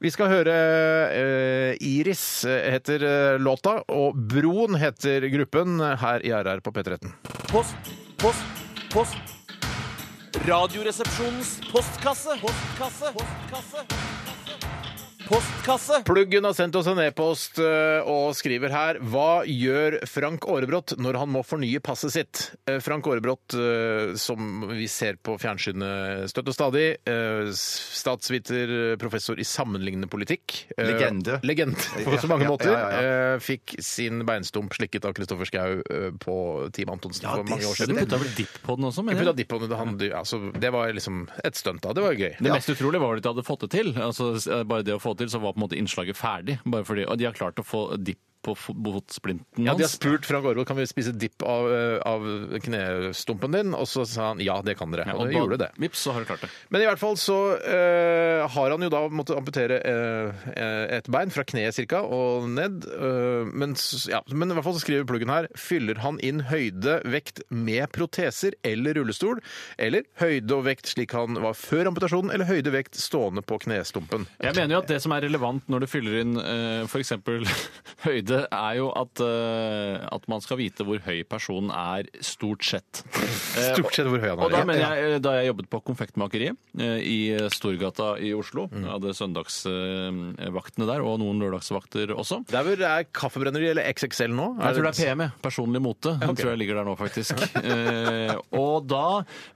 Vi skal høre eh, Iris eh, heter eh, låta, og Broen heter gruppen eh, her i RR på P13. Post, post, post. Radioresepsjonens postkasse. Postkasse. Postkasse. Postkasse. Pluggen har sendt oss en e-post eh, og skriver her Hva gjør Frank Aarebrot når han må fornye passet sitt? Eh, Frank Aarebrot, eh, som vi ser på fjernsynet støtt og stadig, eh, s- statsviter, eh, professor i sammenlignende politikk eh, Legende. Legende [laughs] på så Ja, mange ja, måter. ja, eh, Fikk sin beinstump slikket av Kristoffer Schau eh, på Team Antonsen Ja, for mange det år Du siden. stemmer. putta vel dipp på den også? Jeg mener putta jeg? dipp på den, han, altså, det var liksom et stunt da. Det var jo gøy. Det mest utrolige var vel at de hadde fått det til. Altså, s- bare det å få til, så var på en måte innslaget ferdig. Bare fordi, og de har klart å få dipp på fo- fotsplinten Ja, De har hans. spurt Frank Aarvold kan vi spise dipp av, eh, av knestumpen din, og så sa han ja, det kan dere. Og og det da- gjorde det. Vips, så har du klart det. Men i hvert fall så eh, har han jo da måttet amputere eh, et bein, fra kneet ca. og ned. eh, men, s- ja, men i hvert fall så skriver pluggen her fyller han inn høyde, vekt med proteser eller rullestol, eller høyde og vekt slik han var før amputasjonen, eller høyde og vekt stående på knestumpen. Jeg mener jo at det som er relevant når du fyller inn eh, for f.eks. [laughs] høyde, er jo at, eh, at man skal vite hvor høy personen er stort sett. Eh, Stort sett hvor høy han er. og da Ja. mener jeg eh, da jeg jobbet på konfektmakeriet eh, i Storgata i Oslo. Mm. Jeg hadde søndagsvaktene der, og noen lørdagsvakter også. Der hvor det er kaffebrenneri eller XXL nå? Jeg tror det er PM, personlig mote. Den tror jeg ligger der nå, faktisk. [laughs] eh, og da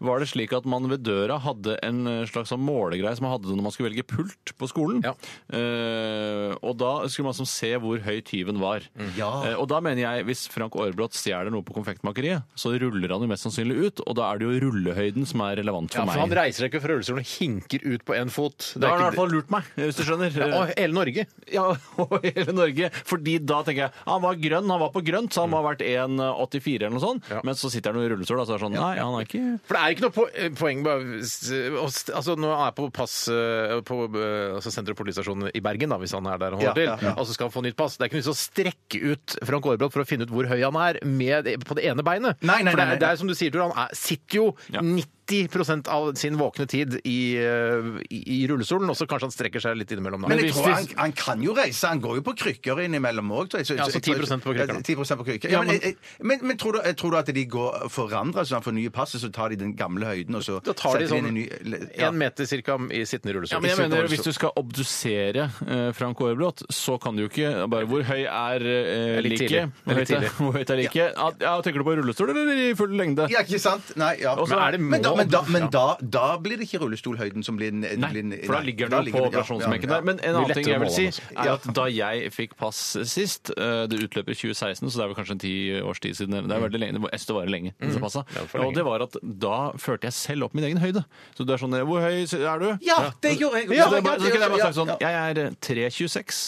var det slik at man ved døra hadde en slags sånn målegreie som man hadde når man skulle velge pult på skolen. Ja. Eh, og da skulle man sånn se hvor høy tyven var. Mm. Eh, og da mener jeg, hvis Frank Aarbrot stjeler noe på konfektmakeriet, så ruller han jo mest sannsynlig ut, og da er det jo rullehøyden som er relevant for Ja, for han meg. reiser ikke fra rullestolen og hinker ut på én fot. Det Da har han i er hvert ikke... fall lurt meg, hvis du skjønner. Og hele Norge. Ja, [laughs] og hele Norge. Fordi da tenker jeg han var grønn, han var på grønt, så han må ha vært 1,84 eller noe sånt. Ja. Men så sitter han jo i rullestol, og så er det sånn Nei, han er ikke For det er ikke noe po- eh, poeng med å s- å st- altså, Når han er på pass eh, på eh, altså, senter- og politistasjonen i Bergen, da, hvis han er der han Ja, holder til, ja, ja. og så skal han få nytt pass Det er ikke noe vits i å strekke ut Frank Aarbrot for å finne ut hvor høy han er med, på det ene beinet. Nei, nei, for det nei, er, nei. det er som du sier, Tor, han er, sitter jo Ja. 90 90 av sin våkne tid i, eh, i, i rullestolen, og så kanskje han strekker seg litt innimellom. Da. Men jeg hvis- tror han, hvis- han kan jo reise. Han går jo på krykker innimellom òg. Ja, så 10% på krykker, da. 10 på krykker. Ja, Ja, men men- jeg- men, men tror, du, tror du at de går forandrer så han får nye pass, og så tar de den gamle høyden, og så da tar de setter inn sånn en ny ja. en meter cirka i sittende rullestol. Ja, men jeg Sittende mener Hvis rullestol. du skal obdusere eh, Frank Aarebrot, så kan du jo ikke bare Hvor høy er eh, Litt tidlig. liket? Hvor Litt høyt er- tidlig. Hvor høyt er liket? Ja. Ja, tenker du på rullestol eller i full lengde? ja, ikke sant? Nei, ja. Og så er det men da, mål. men, da, Ja. men da, da blir det ikke rullestolhøyden som blir Nei, Nei, for da ligger den jo på operasjonsbenken der. Men en Blir annen ting jeg vil si, lettere å måle, er at da jeg fikk pass sist, eh, det utløper i 2016, så det er vel kanskje en ti års tid siden, eller det er veldig lenge, det var- jeg synes det varer lenge, disse passa. for lenge. Og det var at da følte jeg selv opp min egen høyde. Så det er sånn, eh, hvor høy er du? Ja, det gjorde jeg! Så det er bare, så kunne jeg bare sagt sånn, jeg er eh, 3,26.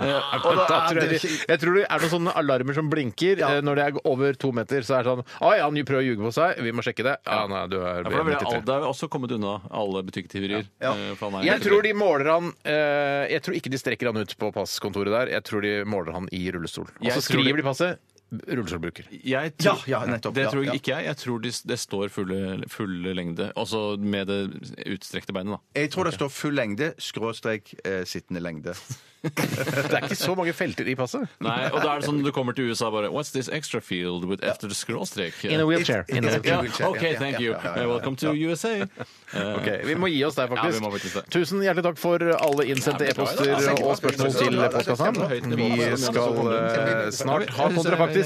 Eh, og Da da, tror jeg, de- jeg tror det er noen sånne alarmer som blinker eh, når det er over to meter. Så er det sånn Å ja, han prøver å ljuge på seg. Vi må sjekke det. Ja, nei, du Ja, er for da vil jeg, al- 93. da har vi også kommet unna alle butikktyverier. Ja. eh, for han er- Jeg tror de måler han eh, Jeg tror ikke de strekker han ut på passkontoret der. Jeg tror de måler han i rullestol. Og Jeg så tror det- skriver de passet. Rullestolbruker. Jeg tror, Ja, ja, nettopp, det ja, tror jeg ja. ikke jeg. Jeg tror det, det står fulle, fulle lengde. Også med det utstrekte beinet, da. Jeg tror det står full lengde, skråstrek, eh, sittende lengde. Det er ikke så mange felter i passet. Nei, og da er det sånn du kommer til USA bare What's this extra field with after the skråstrek? wheelchair. In a Ja, wheelchair, ja, OK, ja, thank ja, you. ja, ja, ja, ja. Welcome to USA. Eh, Ok, Vi må gi oss der, Ja, vi faktisk. må faktisk det. Tusen hjertelig takk for alle innsendte Ja, men det var e-poster jo det. og spørsmål til postkassen. Vi skal eh, snart ha kontrafaktisk.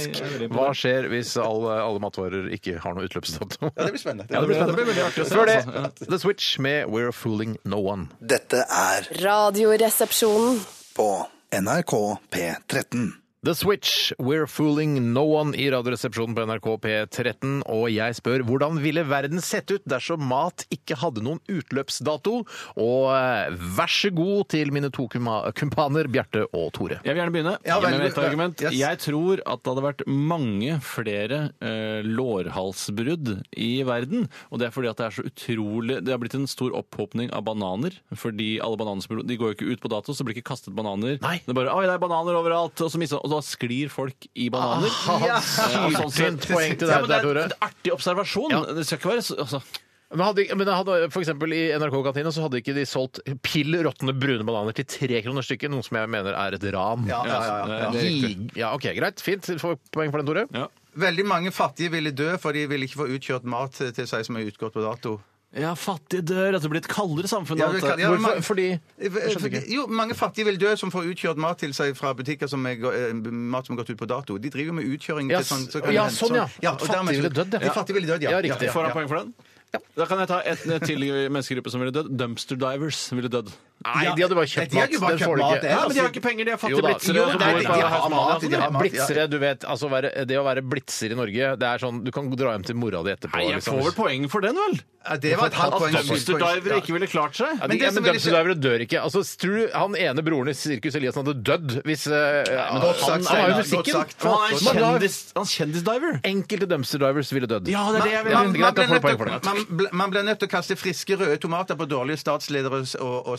Hva skjer hvis alle, alle matvarer ikke har [laughs] noe utløpsdato? Ja, det blir spennende. Ja, det blir Det blir veldig spennende. artig å se, Før det, altså. The Switch med We're Fooling No One. Dette er Radioresepsjonen. på NRK P13. The Switch, We're Fooling No One i Radioresepsjonen på NRK P13. Og jeg spør hvordan ville verden sett ut dersom mat ikke hadde noen utløpsdato? Og eh, vær så god til mine to kumma- kumpaner Bjarte og Tore. Jeg vil gjerne begynne Ja, vel, med et ja, argument. yes. Jeg tror at det hadde vært mange flere eh, lårhalsbrudd i verden. Og det er fordi at det er så utrolig Det har blitt en stor opphopning av bananer. Fordi alle bananer De går jo ikke ut på dato, så blir ikke kastet bananer. Nei. Det er bare Oi, det er bananer overalt! Og, så mister, og da sklir folk i bananer. Ah, Eh, Ja. altså, Syltynt poeng til Ja, men deg det der, er Tore. en artig observasjon. Ja. Det skal ikke være så altså. Men, hadde, men det hadde, for eksempel i NRK-kantina så hadde ikke de solgt pill råtne brune bananer til tre kroner stykket, noe som jeg mener er et ran. Ja, ja, ja, ja. det er riktig. Gi- ja, ok, greit. Fint. Får poeng for den, Tore. Ja. Veldig mange fattige ville dø, for de ville ikke få utkjørt mat til seg som er utgått på dato. ja, fattige dør. At det blir et kaldere samfunn. Ja, og det alt kan- det. ja, men- Hvorfor? Fordi Fordi- Eh, Jo, mange fattige vil dø som får utkjørt mat til seg fra butikker som er, gå- eh, mat som har gått ut på dato. De driver med utkjøring Ja, til sånn. s- ja, det hende sånn, ja. og Fattige dermed så- ville dødd, ja. De fattige ville dødd, ja. Ja, riktig. Får han ja. poeng for den? Da kan jeg ta et et til menneskegruppe som ville dødd. Dumpster divers ville dødd. Altså, Nei, de hadde bare de kjøpt hadde mat. jo bare Den kjøpt får du mat, ikke. det. Ja, men de har ikke penger, de er Jo fattige da. blitzere. Jo, som bor nei, de- i de Sverige. har mat, de har mat, ja. Blitzere, du vet. Altså, være, det å være blitzer i Norge, det er sånn Du kan dra hjem til mora di etterpå. Nei, jeg liksom. får vel poeng for den, vel? Ja, det var et halvt At poeng. dumpsterdivere ikke ville klart seg. Ja, Men de, det ja, som men ville dumpsterdivere dør ikke. Altså, tror du han ene broren i Sirkus Eliassen hadde dødd hvis eh, han, godt sagt, han var jo Steinar. musikken. Godt sagt. Men han er en Men da- kjendis- han er kjendisdiver. Enkelte dumpsterdivers ville [laughs] dødd. Ja, det er det jeg vil. Man- Man greit, da blir får du nødt poeng til- for det. man bl- man blir nødt til å kaste friske røde tomater på dårlige statsledere og, og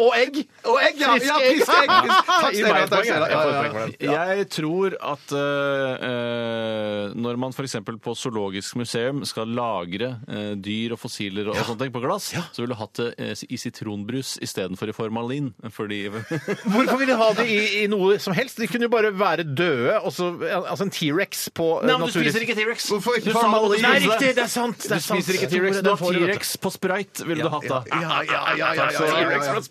Og egg! [laughs] Og egg, ja! ja friske [laughs] egg! Takk, Gi Steinar, meg et takk, poeng, Steinar. Ja, jeg. Jeg får et ja, poeng ja. for den. Jeg tror at eh, eh, når man f.eks. på zoologisk museum skal lagre eh, dyr og fossiler og sånne ting på glass, så ville du hatt det eh, i sitronbrus istedenfor i formalin. Fordi Hvorfor vil de ha det i, i noe som helst? De kunne jo bare være døde. og så- altså en T-rex på eh, naturlig- T-rex. Hvorfor ikke Du sa formalin? aldri- Nei, riktig! Det er sant! Det Du er sant. spiser ikke T-rex, Den du har får vet du. T-rex på sprite, ville du hatt da. Ja, ja, ja, ja, ja, ja, ja, ja.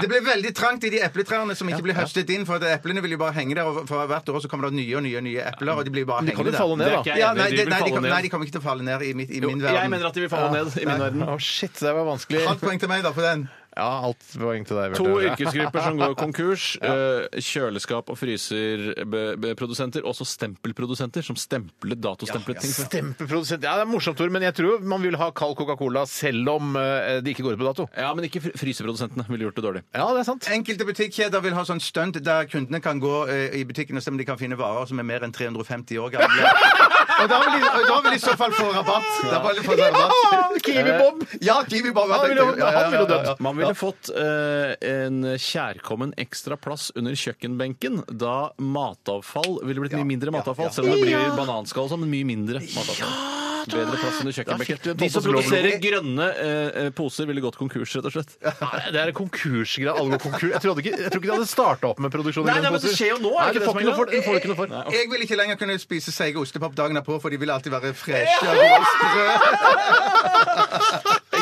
Det ble veldig trangt i de epletrærne som ikke ble høstet inn, for at eplene vil jo bare henge der, og for hvert år så kommer det nye og nye nye epler, og de blir bare De kan hengende jo falle der. ned, Det da. er Ja, nei, Jeg mener, de de, vil nei, de, falle kom, ned. nei, de kommer ikke til å falle ned i, mitt, i Jo, min jeg verden. mener at de vil falle ned i min [laughs] verden. Å, shit, det var vanskelig. Halvt poeng til meg, da, for den. Ja, alt poeng til deg. Bjarte. To yrkesgrupper som går konkurs. eh, Kjøleskap- og fryserprodusenter. Også stempelprodusenter, som stempler datostemplet ting. for- Stempelprodusent. Ja, det er morsomt, Tor, men jeg tror man vil ha kald Coca-Cola selv om eh, det ikke går ut på dato. Ja, men ikke fr- fryseprodusentene ville gjort det dårlig. Ja, det er sant. Enkelte butikkjeder vil ha sånn stunt der kundene kan gå eh, i butikken og se om de kan finne varer som er mer enn 350 år [laughs] gamle. og, da vil de, og da vil de i så fall få rabatt. Da vil de få rabatt. Kiwi Bob! Ja, Kiwi Bob. hva tenkte Han ville du? Ja, ja, han ville ja, dødd. ja. Man ville fått eh, en kjærkommen ekstra plass under kjøkkenbenken da matavfall ville blitt mye mindre matavfall, selv om det blir bananskall og sånn, men mye mindre matavfall. Bedre plass under Det er kjøkkenbenken. helt De som fantastisk. produserer grønne eh, poser, ville gått konkurs, rett og slett. Nei, det er konkursgreier. Alle går konkurs. Jeg, trodde ikke, jeg tror ikke de hadde starta opp med produksjon. av Nei, nei, grønne men det poser. skjer jo nå, er Nei, det du ikke får det ikke noe som er for- du får ikke noe for. Jeg vil ikke lenger kunne spise seige ostepop dagen derpå, for de vil alltid være freshe og sprø.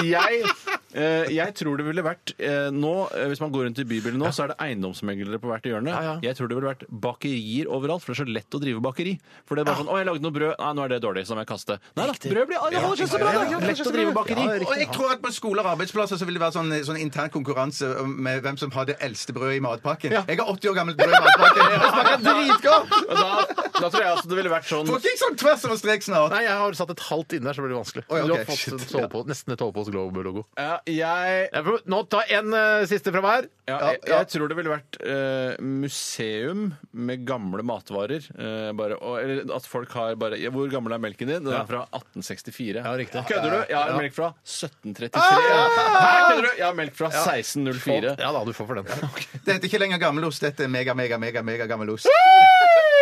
jeg, eh, jeg tror det ville vært eh, nå, eh, Hvis man går rundt i bybildet nå, så er det eiendomsmeglere på hvert hjørne. Ja, ja. Jeg tror det ville vært bakerier overalt, for det er så lett å drive bakeri. For det er bare sånn 'Å, jeg lagde noe brød. Nei, nå er det dårlig, så må jeg kaste'. Nei da, brød blir det holder seg så bra! det er Lett å drive bakeri. Og jeg tror at på skoler og arbeidsplasser så vil det være sånn, sånn intern konkurranse med hvem som har det eldste brødet i matpakken. Ja. Jeg har 80 år gammelt brød i matpakken. Det smaker dritgodt! Og da, da tror jeg altså det ville vært sånn Får ikke jeg sånn tvers over strek snart? Nei, jeg har satt et halvt inn der, så det blir vanskelig. Oi, Du ok, har fått shit. en sovepose- nesten et Sovepose Globo-logo. ja, jeg, Jeg får- Nå ta en eh, siste fra hver. ja, jeg, jeg tror det ville vært eh, museum med gamle matvarer. eh, bare, og, eller at folk har bare ja, Hvor gammel er melken din? Den er fra 1864. Ja, riktig. Kødder du? Jeg har melk fra 1733. Her kødder du? Jeg har melk fra 1604. Ja da, du får for den. Dette er ikke lenger gammel ost. Dette er mega, mega, mega, mega gammel ost.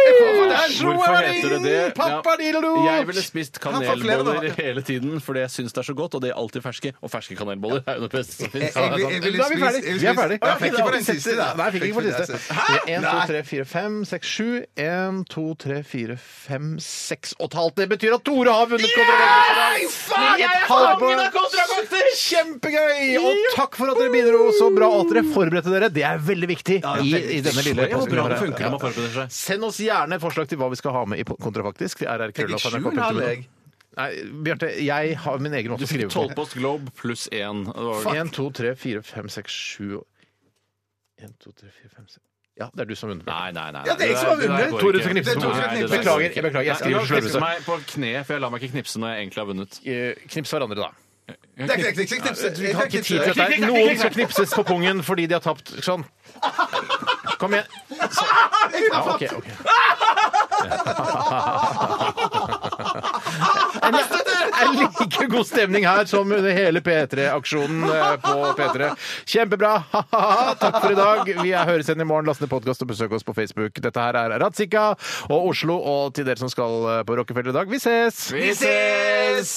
Hvorfor heter det det? Pappadildo! Ja, jeg ville spist Han får flere, da. kanelboller hele tiden, fordi jeg syns det er så godt, og det er alltid ferske. Og ferske kanelboller er jo det beste som Jeg, fins. jeg, vil- jeg ville Da er vi spist- ferdig. jeg ville Vi er spist- ferdig. Å, Jeg fikk ikke på den siste, da. Nei, jeg fikk ikke på den siste. Hæ? 1, 2, Nei. 3, 4, 5, 6, 7. 1, 2, 3, 4, 5, 6 og et halvt. Det betyr at Tore har vunnet kontrabakter! faen, jeg er fangen av kontrabakter! Kjempegøy! Og takk for at dere bidro så bra, og at dere forberedte dere. Det er veldig viktig i, i denne lille Ja, hvor bra det podcasten. funker når man forbereder seg. Send oss gjerne forslag til hva vi skal ha med i kontrafaktisk. Jeg fikk sju, til hadde rrkrøllalfa.nrk.no. jeg. Nei, Bjarte, jeg har min egen måte å skrive på. Tolvpost Globe pluss én. Det var vel- 1, 2, 3, 4, 5, 6, 7 1, 2, 3, 4, 5, 6 Ja, det er du som har vunnet. Nei, nei, nei. Ja, det er jeg som har der- der vunnet. går Tore ikke. som knipser. Det er Tore som Nei, det knipser. der Beklager, jeg beklager. Jeg Nei, nå skriver knipser slurvete. meg på kne, for jeg lar meg ikke knipse når jeg egentlig har vunnet. Eh, Knips hverandre, da. Knipse, knipse, knipse. Vi har ikke tid til Knipse. dette. her. Noen skal knipses på pungen fordi de har tapt. Sånn. Kom igjen. Så- Ja, ok, ok. En like god stemning her som under hele P3-aksjonen eh, på P3. Kjempebra! [laughs] Takk for i dag. Vi er høres igjen i morgen. Last ned podkast og besøk oss på Facebook. Dette her er Ratzika og Oslo, og til dere som skal eh, på Rockefeller i dag, vi ses! Vi ses!